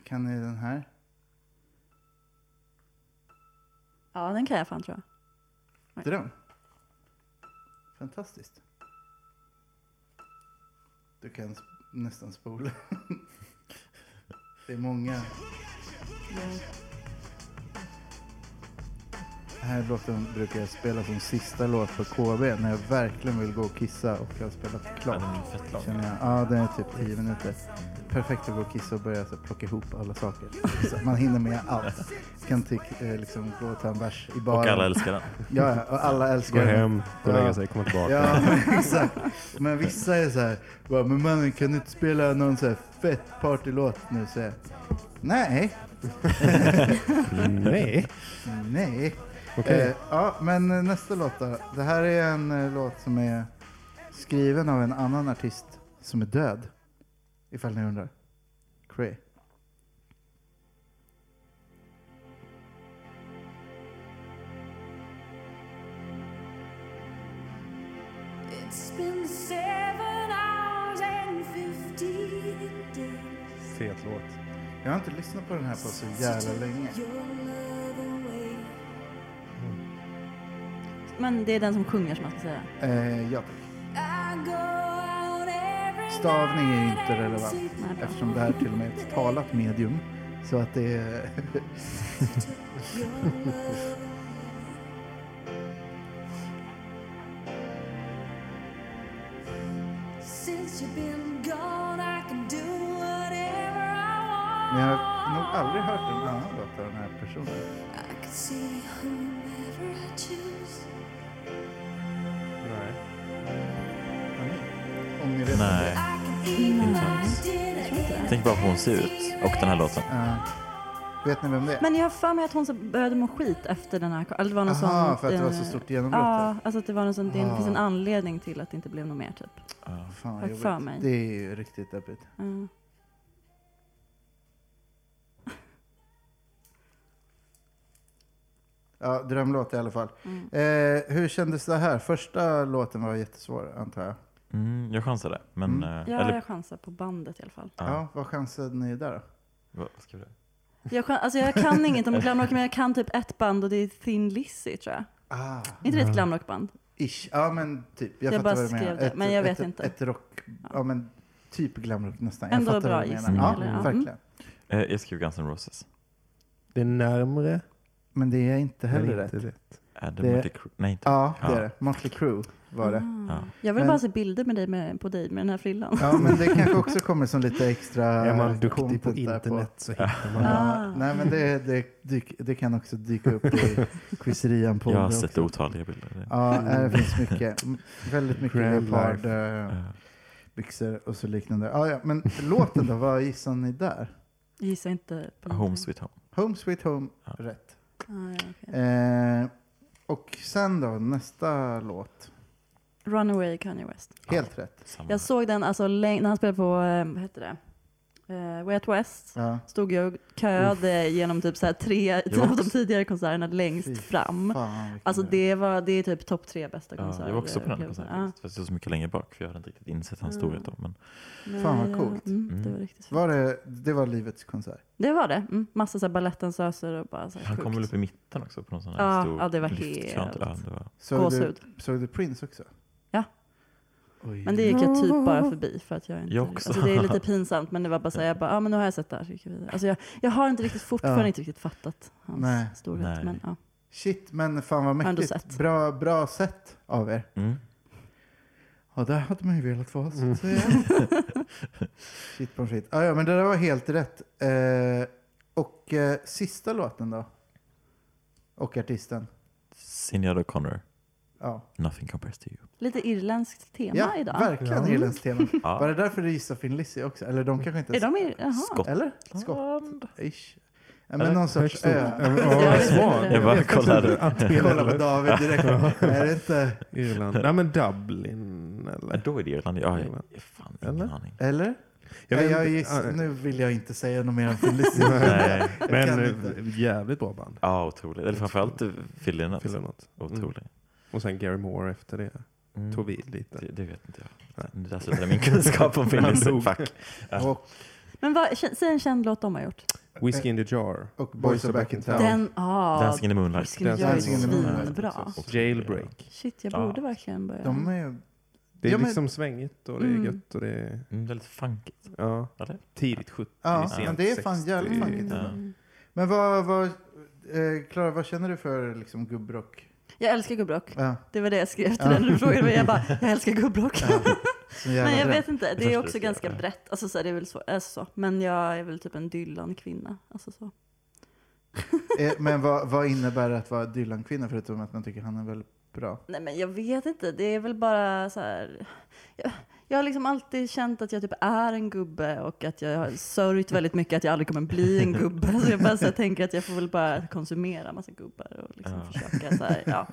[SPEAKER 2] Kan ni den här?
[SPEAKER 3] Ja, den kan jag fan tror jag.
[SPEAKER 2] Inte den? Fantastiskt. Du kan sp- nästan spola. (laughs) det är många. Den här låten brukar jag spela som sista låt för KB när jag verkligen vill gå och kissa och jag har spelat klart.
[SPEAKER 4] Den är fett lång.
[SPEAKER 2] Känner jag. Ja, den är typ 10 minuter. Perfekt att gå och kissa och börja så, här plocka ihop alla saker. Så man hinner med allt. Kan tyck, eh, liksom gå och ta en bärs i baren.
[SPEAKER 4] Och alla älskar den.
[SPEAKER 2] Ja, ja, och alla
[SPEAKER 1] Gå
[SPEAKER 2] älskar den.
[SPEAKER 1] hem, gå och
[SPEAKER 2] Ja.
[SPEAKER 1] lägga sig, komma tillbaka.
[SPEAKER 2] Ja, men exakt. Men vissa är så här, bara, men mannen kan du inte spela någon så här fett partylåt nu? Så jag, nej, (laughs)
[SPEAKER 1] Nej.
[SPEAKER 2] nej.
[SPEAKER 1] Okej.
[SPEAKER 2] Eh, ja, men eh, nästa låt då. Det här är en eh, låt som är skriven av en annan artist som är död. Ifall ni undrar. Cray.
[SPEAKER 6] It's been seven hours and 15 days
[SPEAKER 1] Fet låt.
[SPEAKER 2] Jag har inte lyssnat på den här på så jävla länge.
[SPEAKER 6] your love away.
[SPEAKER 3] Men det är den som sjunger som man ska säga.
[SPEAKER 2] Eh, ja.
[SPEAKER 6] I go out every
[SPEAKER 2] Stavning är ju
[SPEAKER 6] night
[SPEAKER 2] inte
[SPEAKER 6] and
[SPEAKER 2] relevant
[SPEAKER 6] seek you.
[SPEAKER 2] eftersom det här till och med är ett talat medium. Så att det är... (laughs)
[SPEAKER 6] Your love. Since you've been gone, I can do whatever I
[SPEAKER 2] Men
[SPEAKER 6] want.
[SPEAKER 2] jag har nog aldrig hört en annan låt av den här personen.
[SPEAKER 6] I can see whomever I choose.
[SPEAKER 1] Nej.
[SPEAKER 2] Har ni? Om ni vet.
[SPEAKER 4] Nej.
[SPEAKER 6] I can eat
[SPEAKER 3] Mm.
[SPEAKER 6] what I did again.
[SPEAKER 4] Tänk bara på hur hon ser ut och den här låten.
[SPEAKER 2] Ja. vet ni vem det är?
[SPEAKER 3] Men jag har för mig att hon så började må skit efter den här. Eller det var någon sån...
[SPEAKER 2] Aha, för att det var
[SPEAKER 3] eh,
[SPEAKER 2] så stort genombrott.
[SPEAKER 3] Ja,
[SPEAKER 2] där.
[SPEAKER 3] alltså att det var någon sån... Det
[SPEAKER 2] Ah.
[SPEAKER 3] finns en anledning till att det inte blev något mer typ.
[SPEAKER 4] Ja.
[SPEAKER 2] Fan, vad
[SPEAKER 3] Har
[SPEAKER 2] jobbigt.
[SPEAKER 3] för mig.
[SPEAKER 2] Det är ju riktigt deppigt.
[SPEAKER 3] Mm.
[SPEAKER 2] Ja, drömlåt i alla fall.
[SPEAKER 3] Mm.
[SPEAKER 2] Eh, hur kändes det här? Första låten var jättesvår, antar jag.
[SPEAKER 4] Mm, jag chansade,
[SPEAKER 2] Mm.
[SPEAKER 4] men... eh,
[SPEAKER 3] Ja,
[SPEAKER 4] eller,
[SPEAKER 3] jag chansar på bandet i alla fall.
[SPEAKER 2] Ja.
[SPEAKER 4] ja.
[SPEAKER 2] vad chansade ni där då?
[SPEAKER 4] Vad ska vi göra?
[SPEAKER 3] Jag, chans, alltså jag kan inget om glamrock, men jag kan typ ett band och det är Thin Lizzy tror jag.
[SPEAKER 2] Ah,
[SPEAKER 3] Är inte det ett glamrockband?
[SPEAKER 2] ish. Ja, men typ. Jag,
[SPEAKER 3] Jag
[SPEAKER 2] fattar
[SPEAKER 3] bara
[SPEAKER 2] vad du menar.
[SPEAKER 3] skrev det, men jag vet
[SPEAKER 2] ett,
[SPEAKER 3] inte.
[SPEAKER 2] Ett rock... Ja, men typ glamrock nästan.
[SPEAKER 3] Ändå
[SPEAKER 2] jag fattar
[SPEAKER 3] bra
[SPEAKER 2] vad du menar.
[SPEAKER 3] gissning,
[SPEAKER 2] Ja,
[SPEAKER 3] eller? Ja. Mm.
[SPEAKER 2] verkligen.
[SPEAKER 4] Eh, jag skrev Guns N' Roses.
[SPEAKER 1] Det är närmre.
[SPEAKER 2] Men det är inte heller
[SPEAKER 1] men
[SPEAKER 2] rätt.
[SPEAKER 1] inte rätt.
[SPEAKER 4] Adam
[SPEAKER 2] Det-
[SPEAKER 4] Monte Cru- Nej, inte.
[SPEAKER 2] Ja, det
[SPEAKER 4] Ja.
[SPEAKER 2] är det. Motley Crue var det.
[SPEAKER 3] Ah.
[SPEAKER 4] Ja.
[SPEAKER 3] Jag vill
[SPEAKER 2] Men-
[SPEAKER 3] bara se bilder med dig med, på dig med den här frillan.
[SPEAKER 2] Ja, men det kanske också kommer som lite extra
[SPEAKER 1] Är
[SPEAKER 2] Eh,
[SPEAKER 1] man duktig på
[SPEAKER 2] content där
[SPEAKER 1] internet så hittar man
[SPEAKER 2] Ja,
[SPEAKER 3] (laughs) Ah.
[SPEAKER 2] Nej, men det, det, dyk, det kan också dyka upp i
[SPEAKER 1] (laughs)
[SPEAKER 2] quizerian på
[SPEAKER 4] Jag har
[SPEAKER 2] det
[SPEAKER 4] sett
[SPEAKER 2] också.
[SPEAKER 4] otaliga bilder. Det-
[SPEAKER 2] Ja, det finns mycket. M- Väldigt mycket
[SPEAKER 1] Mm. Grand
[SPEAKER 2] leopard,
[SPEAKER 1] life.
[SPEAKER 2] eh,
[SPEAKER 4] eh,
[SPEAKER 2] byxor och så liknande. Ja, ja, men låten då, vad gissar ni där?
[SPEAKER 3] Gissa inte på någonting.
[SPEAKER 4] Home Sweet Home.
[SPEAKER 2] Home Sweet Home,
[SPEAKER 4] Ja.
[SPEAKER 2] rätt.
[SPEAKER 3] Ah, ja, okej.
[SPEAKER 2] Eh, och sen då, nästa låt.
[SPEAKER 3] Runaway Kanye West.
[SPEAKER 2] Helt rätt.
[SPEAKER 4] Samma.
[SPEAKER 3] Jag såg den alltså läng- när han spelade på, eh, vad hette det, eh, Way Out West.
[SPEAKER 2] Ja,
[SPEAKER 3] Stod jag och köade genom typ så här tre
[SPEAKER 4] Jag
[SPEAKER 3] av de
[SPEAKER 4] också.
[SPEAKER 3] tidigare konserterna längst
[SPEAKER 2] Fy
[SPEAKER 3] fram.
[SPEAKER 2] fan, vilken
[SPEAKER 3] Alltså
[SPEAKER 2] bra.
[SPEAKER 3] det, var, det är typ topp tre bästa
[SPEAKER 4] Ja,
[SPEAKER 3] konserter. Ah.
[SPEAKER 4] jag var också på den
[SPEAKER 3] upplevelser.
[SPEAKER 4] konserten faktiskt. Fast jag var så mycket längre bak för jag hade inte riktigt insett hans
[SPEAKER 3] Mm.
[SPEAKER 4] storhet då. Men
[SPEAKER 3] Nej,
[SPEAKER 2] Fan, vad
[SPEAKER 3] ja,
[SPEAKER 2] coolt.
[SPEAKER 3] Mm, det
[SPEAKER 4] Mm.
[SPEAKER 3] var riktigt fint.
[SPEAKER 2] Var det, det var livets konsert.
[SPEAKER 3] Det var det. Mm. Massa så här balettdansöser och bara så här
[SPEAKER 4] han
[SPEAKER 3] sjukt.
[SPEAKER 4] kom väl upp i mitten också på någon sån här
[SPEAKER 3] Ja,
[SPEAKER 4] stor
[SPEAKER 3] ja, det var
[SPEAKER 4] lyftkant.
[SPEAKER 3] helt-
[SPEAKER 4] Ja, det var...
[SPEAKER 2] Såg du,
[SPEAKER 3] Gåshud.
[SPEAKER 2] såg du Prince också?
[SPEAKER 3] Ja.
[SPEAKER 2] Oj.
[SPEAKER 3] Men det gick jag typ bara förbi för att jag inte...
[SPEAKER 4] Jag också.
[SPEAKER 3] Alltså det är
[SPEAKER 4] (laughs)
[SPEAKER 3] lite pinsamt men det var bara så här, jag bara, ah, men nu har jag sett det här. så gick jag vidare. Alltså jag, jag har inte riktigt fortfarande
[SPEAKER 2] Ja.
[SPEAKER 3] inte riktigt fattat hans
[SPEAKER 2] Nej.
[SPEAKER 3] storhet.
[SPEAKER 4] Nej.
[SPEAKER 3] Men, ja.
[SPEAKER 2] Shit, men fan vad
[SPEAKER 3] ändå
[SPEAKER 2] mäktigt.
[SPEAKER 3] sett.
[SPEAKER 2] Bra, bra sätt av er.
[SPEAKER 4] Mm.
[SPEAKER 2] Ja, där hade man ju velat vara
[SPEAKER 1] Mm.
[SPEAKER 2] så att säga. (laughs) Shit på shit. Ah, ja, men det där var helt rätt. Eh, och eh, sista låten då? Och artisten?
[SPEAKER 4] Sinéad O'Connor,
[SPEAKER 2] Ja,
[SPEAKER 4] Nothing Compares To You.
[SPEAKER 3] Lite irländskt tema
[SPEAKER 2] ja
[SPEAKER 3] idag.
[SPEAKER 1] (laughs)
[SPEAKER 2] verkligen
[SPEAKER 1] Ja.
[SPEAKER 2] Irlands tema.
[SPEAKER 4] Ja.
[SPEAKER 2] Var det därför du gissade Finn Lizzy också? Eller de kanske inte...
[SPEAKER 3] Är de i, jaha.
[SPEAKER 4] Skott.
[SPEAKER 2] Eller?
[SPEAKER 4] Skottland.
[SPEAKER 2] Ish. Ja, men
[SPEAKER 4] Eller?
[SPEAKER 2] någon sorts
[SPEAKER 1] Högst upp.
[SPEAKER 2] ö.
[SPEAKER 1] Ja, men-
[SPEAKER 2] (laughs)
[SPEAKER 1] ja, svar.
[SPEAKER 4] Jag bara
[SPEAKER 1] vet faktiskt
[SPEAKER 4] kollade.
[SPEAKER 1] inte. Antingen
[SPEAKER 2] Jag kollar på
[SPEAKER 1] eller. (laughs)
[SPEAKER 2] David direkt. Är det inte...
[SPEAKER 1] Irland. Nej men Dublin
[SPEAKER 4] Ja,
[SPEAKER 1] eller?
[SPEAKER 4] då är det Irland. Ja, jag
[SPEAKER 1] Irland.
[SPEAKER 4] har fan ingen
[SPEAKER 1] Eller?
[SPEAKER 2] (laughs)
[SPEAKER 4] aning.
[SPEAKER 2] Eller? Jag,
[SPEAKER 1] vet
[SPEAKER 2] jag
[SPEAKER 1] inte.
[SPEAKER 2] giss,
[SPEAKER 1] Ja,
[SPEAKER 2] nu vill jag inte säga något mer om Finn Lizzy. (laughs)
[SPEAKER 4] Nej.
[SPEAKER 2] Jag
[SPEAKER 1] Men
[SPEAKER 2] kan
[SPEAKER 1] eh, jävligt bra band.
[SPEAKER 4] Ja, otroligt. Eller framförallt Fillen.
[SPEAKER 1] Fyller
[SPEAKER 4] Alltså.
[SPEAKER 1] något.
[SPEAKER 4] Otroligt.
[SPEAKER 1] Och sen Gary Moore efter det.
[SPEAKER 4] Mm.
[SPEAKER 1] Tog vid lite.
[SPEAKER 4] Det, det vet inte jag.
[SPEAKER 1] Nej.
[SPEAKER 4] Det där slutade min kunskap om Finland.
[SPEAKER 1] Han dog.
[SPEAKER 4] Fuck.
[SPEAKER 2] (laughs) Och
[SPEAKER 3] Men vad, kä- säg en känd låt de har gjort.
[SPEAKER 1] Whiskey in the Jar.
[SPEAKER 2] Och Boys Are Back in Town.
[SPEAKER 3] Den, ah,
[SPEAKER 4] Dancing in the moonlight.
[SPEAKER 3] Whiskey in the Jar är
[SPEAKER 2] Dancing in the Moonlight.
[SPEAKER 3] svinbra.
[SPEAKER 4] Precis.
[SPEAKER 1] Jailbreak.
[SPEAKER 3] Shit, jag
[SPEAKER 4] Ja.
[SPEAKER 3] borde verkligen börja.
[SPEAKER 2] De är,
[SPEAKER 1] Det är
[SPEAKER 2] Ja, men-
[SPEAKER 1] liksom svängigt och det är
[SPEAKER 3] Mm.
[SPEAKER 1] gött och det är...
[SPEAKER 4] Mm,
[SPEAKER 3] (laughs)
[SPEAKER 4] väldigt funkigt.
[SPEAKER 1] Ja.
[SPEAKER 4] Eller?
[SPEAKER 1] Tidigt 70,
[SPEAKER 2] ja,
[SPEAKER 1] sent
[SPEAKER 2] men det är fan
[SPEAKER 1] 60.
[SPEAKER 2] jävligt funkigt.
[SPEAKER 4] Ja.
[SPEAKER 2] Men vad, vad, eh, Klara, vad känner du för liksom gubbrock?
[SPEAKER 3] Jag älskar gubbrock.
[SPEAKER 2] Ja,
[SPEAKER 3] Det var det jag skrev till
[SPEAKER 2] Ja.
[SPEAKER 3] den du frågade mig. Jag bara, jag älskar gubbrock.
[SPEAKER 2] ja, så jävla
[SPEAKER 3] Men jag
[SPEAKER 2] dröm.
[SPEAKER 3] vet inte, det
[SPEAKER 4] förstår
[SPEAKER 3] är
[SPEAKER 4] det,
[SPEAKER 3] också
[SPEAKER 4] ja.
[SPEAKER 3] ganska brett. Alltså så här, det är väl så, alltså, så. Men jag är väl typ en Dylan-kvinna. Alltså så.
[SPEAKER 2] Eh, Men vad, vad innebär det att vara Dylan-kvinna förutom att man tycker han är väldigt bra?
[SPEAKER 3] Nej men jag vet inte, det är väl bara så här. Jag, jag har liksom alltid känt att jag typ är en gubbe och att jag har sörjt väldigt mycket att jag aldrig kommer bli en gubbe. Så jag bara så här, tänker att jag får väl bara konsumera massa gubbar och liksom
[SPEAKER 4] Ja.
[SPEAKER 3] försöka så här, ja,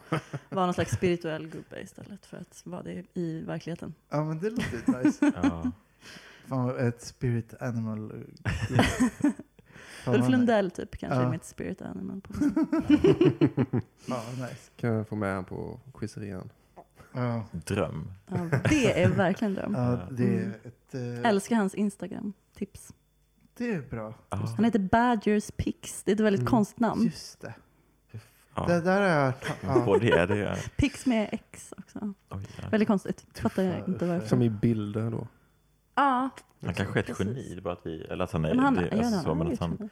[SPEAKER 3] vara någon slags spirituell gubbe istället för att vara det i verkligheten.
[SPEAKER 2] Ja, men det
[SPEAKER 3] (laughs)
[SPEAKER 2] låter nice.
[SPEAKER 4] Ja.
[SPEAKER 2] Fan, vad ett spirit animal. eh, Fan,
[SPEAKER 3] Ulf
[SPEAKER 2] vad (laughs) nice.
[SPEAKER 3] Lundell typ kanske
[SPEAKER 2] Ja.
[SPEAKER 3] är mitt spirit animal. På
[SPEAKER 2] Fan, vad nice.
[SPEAKER 1] Kan jag få med han på pizzerian?
[SPEAKER 2] Ja,
[SPEAKER 4] Dröm.
[SPEAKER 3] ja, det är verkligen dröm.
[SPEAKER 2] ja, det är ett... Eh,
[SPEAKER 3] Mm. Älskar hans Instagram-tips.
[SPEAKER 2] det är bra.
[SPEAKER 4] Ja.
[SPEAKER 3] Han heter Badgers Pix. Det är ett väldigt
[SPEAKER 1] Mm.
[SPEAKER 3] konstigt namn.
[SPEAKER 2] Just det. Det
[SPEAKER 4] Ja.
[SPEAKER 2] där har jag hört. Ja.
[SPEAKER 4] Och det är det. ja.
[SPEAKER 3] Pix med X också.
[SPEAKER 4] Oj, ja.
[SPEAKER 3] Väldigt konstigt. Fattar jag
[SPEAKER 2] Tuffa,
[SPEAKER 3] inte varför.
[SPEAKER 1] Som i bilder då.
[SPEAKER 3] Ja,
[SPEAKER 4] Han kanske är ett
[SPEAKER 3] Precis.
[SPEAKER 4] geni. det är Bara att vi, eller att han är,
[SPEAKER 3] men han,
[SPEAKER 4] det,
[SPEAKER 3] jag vet
[SPEAKER 4] alltså,
[SPEAKER 3] inte,
[SPEAKER 4] så,
[SPEAKER 3] han
[SPEAKER 4] men
[SPEAKER 3] är
[SPEAKER 4] att han,
[SPEAKER 3] han,
[SPEAKER 4] han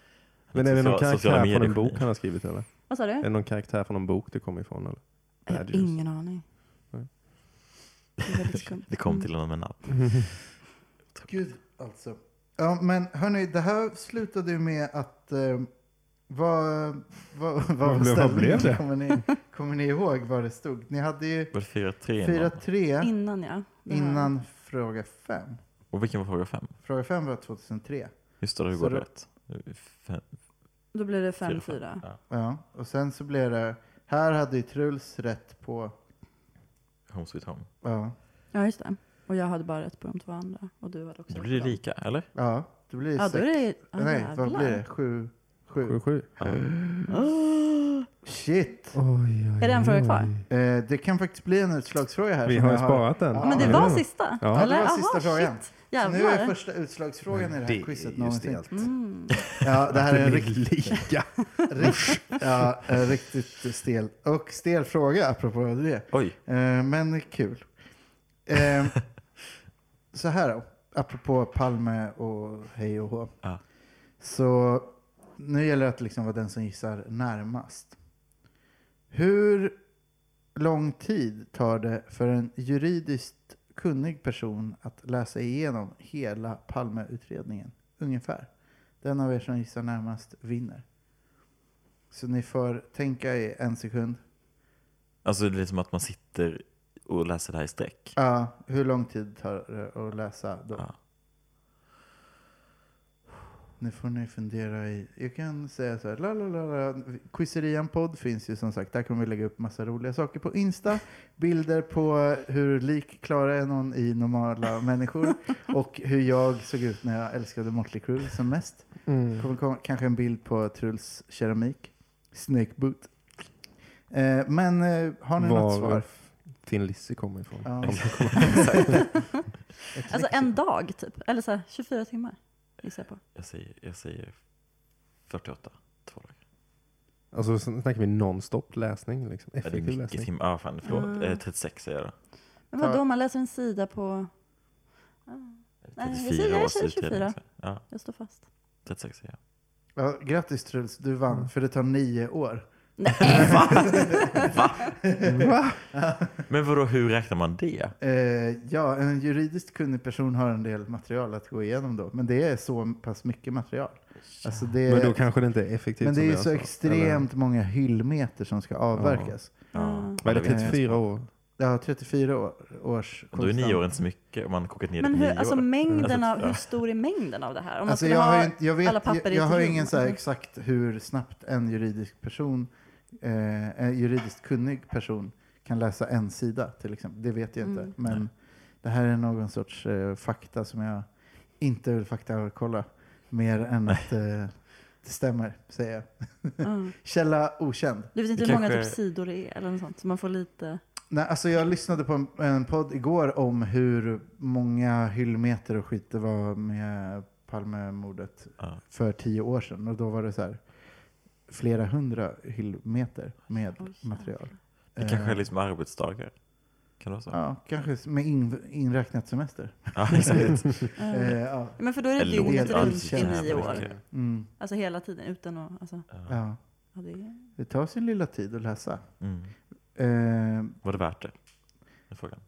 [SPEAKER 1] Men är det någon karaktär från en bok
[SPEAKER 4] medier-geni.
[SPEAKER 1] han har skrivit eller?
[SPEAKER 3] Vad sa
[SPEAKER 1] Är
[SPEAKER 3] du?
[SPEAKER 1] det någon karaktär från en bok det kommer ifrån eller?
[SPEAKER 3] Jag har
[SPEAKER 1] Badgers.
[SPEAKER 3] ingen aning.
[SPEAKER 1] Nej.
[SPEAKER 3] Det är väldigt skumt.
[SPEAKER 4] Det kom till honom en natt.
[SPEAKER 2] Gud, alltså. Ja, men hörni, det här slutade ju med att... Eh, vad, vad, vad,
[SPEAKER 1] Vad blev- vad
[SPEAKER 2] ställningen?
[SPEAKER 1] blev det?
[SPEAKER 2] Kommer ni, kommer ni ihåg vad det stod? Ni hade ju
[SPEAKER 4] Var det 4-3 innan?
[SPEAKER 2] 4-3
[SPEAKER 3] Mm. Innan ja. Det här.
[SPEAKER 2] innan fråga 5.
[SPEAKER 4] Och vilken var fråga 5?
[SPEAKER 2] Fråga 5 var 2003.
[SPEAKER 4] Just det, du
[SPEAKER 2] Så
[SPEAKER 4] går
[SPEAKER 2] då-
[SPEAKER 4] rätt. Fem-
[SPEAKER 3] Då blir det
[SPEAKER 4] fyra,
[SPEAKER 3] 5-4.
[SPEAKER 4] Ja.
[SPEAKER 2] Ja, och sen så blev det... Här hade ju Truls rätt på...
[SPEAKER 4] Home sweet home.
[SPEAKER 2] Ja,
[SPEAKER 3] Ja, just det. Och jag hade bara rätt på de två andra. Och du hade också
[SPEAKER 4] Då
[SPEAKER 3] rätt
[SPEAKER 4] blir
[SPEAKER 3] på dem.
[SPEAKER 4] det lika, eller?
[SPEAKER 2] ja det blir
[SPEAKER 3] Ja, då är
[SPEAKER 2] sex.
[SPEAKER 3] det... Ah,
[SPEAKER 2] Nej, vad
[SPEAKER 3] jävlar.
[SPEAKER 2] blir det? 7? 7.
[SPEAKER 1] 77?
[SPEAKER 2] Shit!
[SPEAKER 1] Oj, oj,
[SPEAKER 3] Är det en fråga
[SPEAKER 1] oj.
[SPEAKER 3] kvar?
[SPEAKER 2] Eh, det kan faktiskt bli en utslagsfråga här.
[SPEAKER 1] Vi
[SPEAKER 2] som
[SPEAKER 1] har ju
[SPEAKER 2] jag
[SPEAKER 1] sparat den.
[SPEAKER 2] Ja,
[SPEAKER 3] Men det
[SPEAKER 2] Ja.
[SPEAKER 3] var sista?
[SPEAKER 1] Ja,
[SPEAKER 2] det
[SPEAKER 3] eller?
[SPEAKER 2] var sista
[SPEAKER 3] Aha,
[SPEAKER 2] frågan.
[SPEAKER 3] Shit.
[SPEAKER 2] Så nu är
[SPEAKER 3] Jävlar.
[SPEAKER 2] första utslagsfrågan i
[SPEAKER 5] er
[SPEAKER 2] det här quizet
[SPEAKER 1] just
[SPEAKER 2] någonsin.
[SPEAKER 1] det.
[SPEAKER 3] Mm.
[SPEAKER 2] Ja, det här är en riktigt,
[SPEAKER 1] Lika.
[SPEAKER 2] (laughs) rikt, ja, en riktigt stel och stel fråga apropå det.
[SPEAKER 4] Oj,
[SPEAKER 2] Eh, Men kul. Eh, Så här då, apropå Palme och hej och hå.
[SPEAKER 4] Ja.
[SPEAKER 2] Så nu gäller det att liksom vara den som gissar närmast. Hur lång tid tar det för en juridiskt kunnig person att läsa igenom hela Palmeutredningen? Ungefär. Den av er som gissar närmast vinner. Så ni får tänka i en sekund.
[SPEAKER 4] alltså det är som att man sitter och läser det här i streck.
[SPEAKER 2] Ja, hur lång tid tar det att läsa då?
[SPEAKER 4] Ja.
[SPEAKER 2] Nu får ni fundera i... Jag kan säga så här, la la la la. Quizerian podd finns ju som sagt. Där kommer vi lägga upp massa roliga saker på Insta. Bilder på hur lik Klara är någon i normala människor. Och hur jag såg ut när jag älskade Motley Crue som mest.
[SPEAKER 1] Mm.
[SPEAKER 2] Det kommer komma, kanske en bild på Truls keramik. Snake boot. Eh, men eh, har ni något svar?
[SPEAKER 1] Var Thin Lizzy kommer ifrån.
[SPEAKER 2] Ja. Ett
[SPEAKER 3] Alltså
[SPEAKER 2] lexikon.
[SPEAKER 3] en dag typ. Eller så här, 24 timmar gissar jag på.
[SPEAKER 4] Jag säger, jag säger 48, två dagar.
[SPEAKER 1] Alltså sen snackar vi nonstop läsning liksom.
[SPEAKER 4] Är det
[SPEAKER 1] Effektiv
[SPEAKER 4] mycket
[SPEAKER 1] läsning.
[SPEAKER 4] timmar? Ja, fan, förlåt.
[SPEAKER 3] Mm.
[SPEAKER 4] Eh, 36 säger jag då.
[SPEAKER 3] Men
[SPEAKER 2] Ta-
[SPEAKER 3] vadå, man läser en sida på... Ah, Nej, jag säger-
[SPEAKER 4] 34
[SPEAKER 3] jag
[SPEAKER 4] års
[SPEAKER 3] säger
[SPEAKER 4] utredning,
[SPEAKER 3] 24.
[SPEAKER 4] så. Ja,
[SPEAKER 3] jag står fast.
[SPEAKER 4] 36 säger jag.
[SPEAKER 2] Ja, grattis Truls, du vann. För det tar nio år.
[SPEAKER 3] Nej,
[SPEAKER 4] Men vadå, hur räknar man det?
[SPEAKER 3] Ah.
[SPEAKER 2] Eh, ja, en juridiskt kunnig person har en del material att gå igenom då. Men det är så pass mycket material. Alltså det
[SPEAKER 1] Men då
[SPEAKER 2] är,
[SPEAKER 1] kanske det inte är effektivt
[SPEAKER 2] men det
[SPEAKER 1] som
[SPEAKER 2] är ju
[SPEAKER 1] jag
[SPEAKER 2] så
[SPEAKER 1] sa.
[SPEAKER 2] extremt många hyllmeter som ska avverkas.
[SPEAKER 4] Ja.
[SPEAKER 1] Eller, vad är
[SPEAKER 4] Jag
[SPEAKER 1] det,
[SPEAKER 4] vet inte.
[SPEAKER 1] 34 år?
[SPEAKER 2] Ja, 34 år, års
[SPEAKER 4] Och Då är
[SPEAKER 2] konstant.
[SPEAKER 4] nio år inte så mycket om man kokat ner det
[SPEAKER 3] men
[SPEAKER 4] på
[SPEAKER 3] hur,
[SPEAKER 4] nio
[SPEAKER 3] alltså
[SPEAKER 4] år.
[SPEAKER 3] mängden
[SPEAKER 4] Alltså,
[SPEAKER 3] av,
[SPEAKER 4] ja.
[SPEAKER 3] hur stor är mängden av det här? Om man
[SPEAKER 2] Alltså
[SPEAKER 3] skulle
[SPEAKER 2] jag
[SPEAKER 3] ha
[SPEAKER 2] har, ju inte- jag, vet,
[SPEAKER 3] alla papper
[SPEAKER 2] jag,
[SPEAKER 3] i
[SPEAKER 2] jag
[SPEAKER 3] ett
[SPEAKER 2] har
[SPEAKER 3] rum,
[SPEAKER 2] ingen så här
[SPEAKER 3] alltså.
[SPEAKER 2] exakt hur snabbt en juridisk person, eh, en juridiskt kunnig person kan läsa en sida till exempel. Det vet jag inte.
[SPEAKER 3] Mm.
[SPEAKER 2] Men det här är någon sorts eh, fakta som jag inte vill faktakolla mer än att eh, det stämmer, säger jag.
[SPEAKER 3] Mm.
[SPEAKER 2] Källa okänd.
[SPEAKER 3] Du vet inte
[SPEAKER 4] Det
[SPEAKER 3] hur många
[SPEAKER 4] kanske-
[SPEAKER 3] typ sidor det är eller något sånt, så man får lite...
[SPEAKER 2] Nej, alltså jag lyssnade på en, en podd igår om hur många hyllmeter och skit det var med Palmemordet
[SPEAKER 4] Ja.
[SPEAKER 2] för tio år sedan. Och då var det så här flera hundra hyllmeter med
[SPEAKER 3] Oj, jävlar.
[SPEAKER 2] material.
[SPEAKER 4] Det kanske är
[SPEAKER 2] Eh,
[SPEAKER 4] liksom arbetsdagar. Kan det vara så?
[SPEAKER 2] Ja, kanske med in, inräknat semester.
[SPEAKER 4] Ja, exakt.
[SPEAKER 3] Eh,
[SPEAKER 2] Eh, ja.
[SPEAKER 3] Men för då är det
[SPEAKER 4] Det
[SPEAKER 3] dygnet
[SPEAKER 2] låter
[SPEAKER 3] runt i
[SPEAKER 2] alldeles
[SPEAKER 3] nio
[SPEAKER 2] jävligt.
[SPEAKER 3] år.
[SPEAKER 4] Okej.
[SPEAKER 2] Mm,
[SPEAKER 3] Alltså hela tiden utan att... Alltså,
[SPEAKER 4] Ja.
[SPEAKER 2] ja.
[SPEAKER 3] ja, det är...
[SPEAKER 2] Det tar sin lilla tid att läsa.
[SPEAKER 4] Mm.
[SPEAKER 2] Eh,
[SPEAKER 4] Var det värt det? Det är frågan.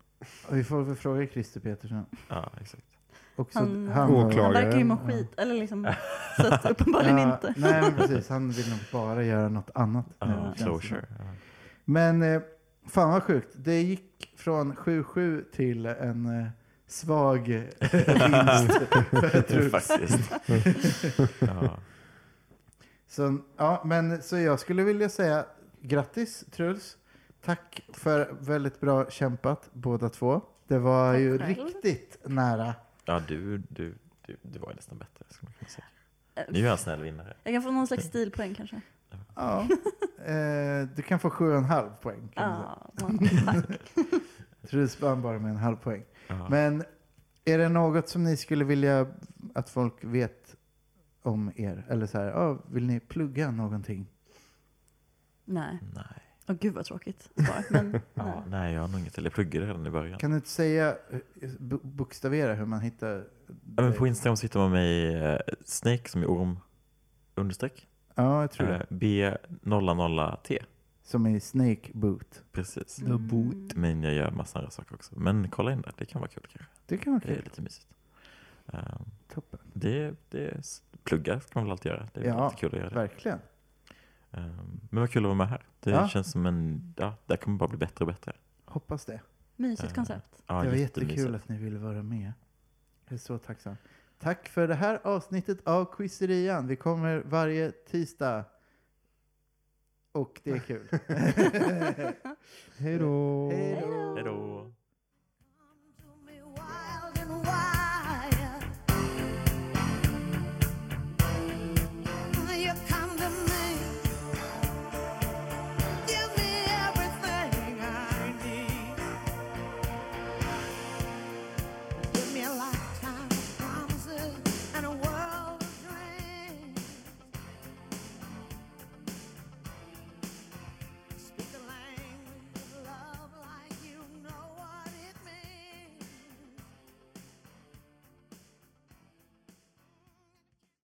[SPEAKER 2] och vi får väl fråga Christer Petersen.
[SPEAKER 4] Ja, exakt.
[SPEAKER 2] Också,
[SPEAKER 3] Han-
[SPEAKER 2] har-
[SPEAKER 1] Åklagare.
[SPEAKER 3] Han
[SPEAKER 1] Lagaren,
[SPEAKER 3] verkar ju må
[SPEAKER 2] ja.
[SPEAKER 3] skit. Eller liksom... Så att uppenbarligen
[SPEAKER 2] Ja,
[SPEAKER 3] inte.
[SPEAKER 2] Nej, men precis. Han vill nog bara göra något annat. nu,
[SPEAKER 4] Ja,
[SPEAKER 2] känns det som.
[SPEAKER 4] closure. Ja.
[SPEAKER 2] Men eh, fan vad sjukt. Det gick från 7-7 till en eh, svag (laughs) vinst
[SPEAKER 4] (laughs)
[SPEAKER 2] för Trups.
[SPEAKER 4] Faktiskt. ja.
[SPEAKER 2] Så, ja, men, så jag skulle vilja säga grattis Truls. Tack för väldigt bra kämpat båda två. Det var
[SPEAKER 3] Tack
[SPEAKER 2] ju
[SPEAKER 3] själv.
[SPEAKER 2] riktigt nära.
[SPEAKER 4] ja, du, du, du, du var ju nästan bättre. Skulle man kunna säga. Nu är jag en snäll vinnare.
[SPEAKER 3] Jag kan få någon slags stilpoäng kanske.
[SPEAKER 2] Ja.
[SPEAKER 3] (laughs)
[SPEAKER 2] Eh, du kan få 7,5 poäng. Kan du säga.
[SPEAKER 3] Ja,
[SPEAKER 2] Mm.
[SPEAKER 3] man-
[SPEAKER 2] (laughs) Truls vann bara med en halv poäng.
[SPEAKER 4] Ja.
[SPEAKER 2] Men är det något som ni skulle vilja att folk vet om er? Eller så här, ja, vill ni plugga någonting?
[SPEAKER 3] nej.
[SPEAKER 4] Nej.
[SPEAKER 3] Åh gud vad tråkigt svar. Men nej.
[SPEAKER 4] Ja, nej, jag har nog inget. Eller jag pluggade redan i början.
[SPEAKER 2] Kan du inte säga, eh, bu- bokstavera hur man hittar
[SPEAKER 4] Ja, men
[SPEAKER 2] dig?
[SPEAKER 4] på Instagram så hittar man mig eh, Snake som är orm understreck.
[SPEAKER 2] Ja, jag tror det.
[SPEAKER 4] B00T.
[SPEAKER 2] Som i Snake Boot.
[SPEAKER 4] Precis.
[SPEAKER 1] The boot.
[SPEAKER 3] Mm.
[SPEAKER 4] Men jag gör massa andra saker också. Men kolla in det. Det kan vara kul kanske.
[SPEAKER 2] Det kan vara
[SPEAKER 4] Det är
[SPEAKER 2] kul.
[SPEAKER 4] lite mysigt. Eh,
[SPEAKER 2] Toppen.
[SPEAKER 4] Det, det, plugga ska man väl alltid göra. Det är
[SPEAKER 2] Ja,
[SPEAKER 4] alltid kul att göra det.
[SPEAKER 2] Verkligen.
[SPEAKER 4] Ehm, Men vad kul att vara med här. Det
[SPEAKER 2] Ja.
[SPEAKER 4] känns som en, ja, det här kommer bara bli bättre och bättre.
[SPEAKER 2] Hoppas det.
[SPEAKER 3] Mysigt
[SPEAKER 4] Eh,
[SPEAKER 3] koncept.
[SPEAKER 2] det
[SPEAKER 4] Ja,
[SPEAKER 2] var
[SPEAKER 4] jättemysigt.
[SPEAKER 2] jättekul att ni ville vara med. Jag är så tacksam. Tack för det här avsnittet av Quizerian. Vi kommer varje tisdag. Och det är kul.
[SPEAKER 4] (laughs)
[SPEAKER 1] Hej då.
[SPEAKER 2] Hej
[SPEAKER 3] Hej
[SPEAKER 2] då.
[SPEAKER 3] då.
[SPEAKER 4] Hej då.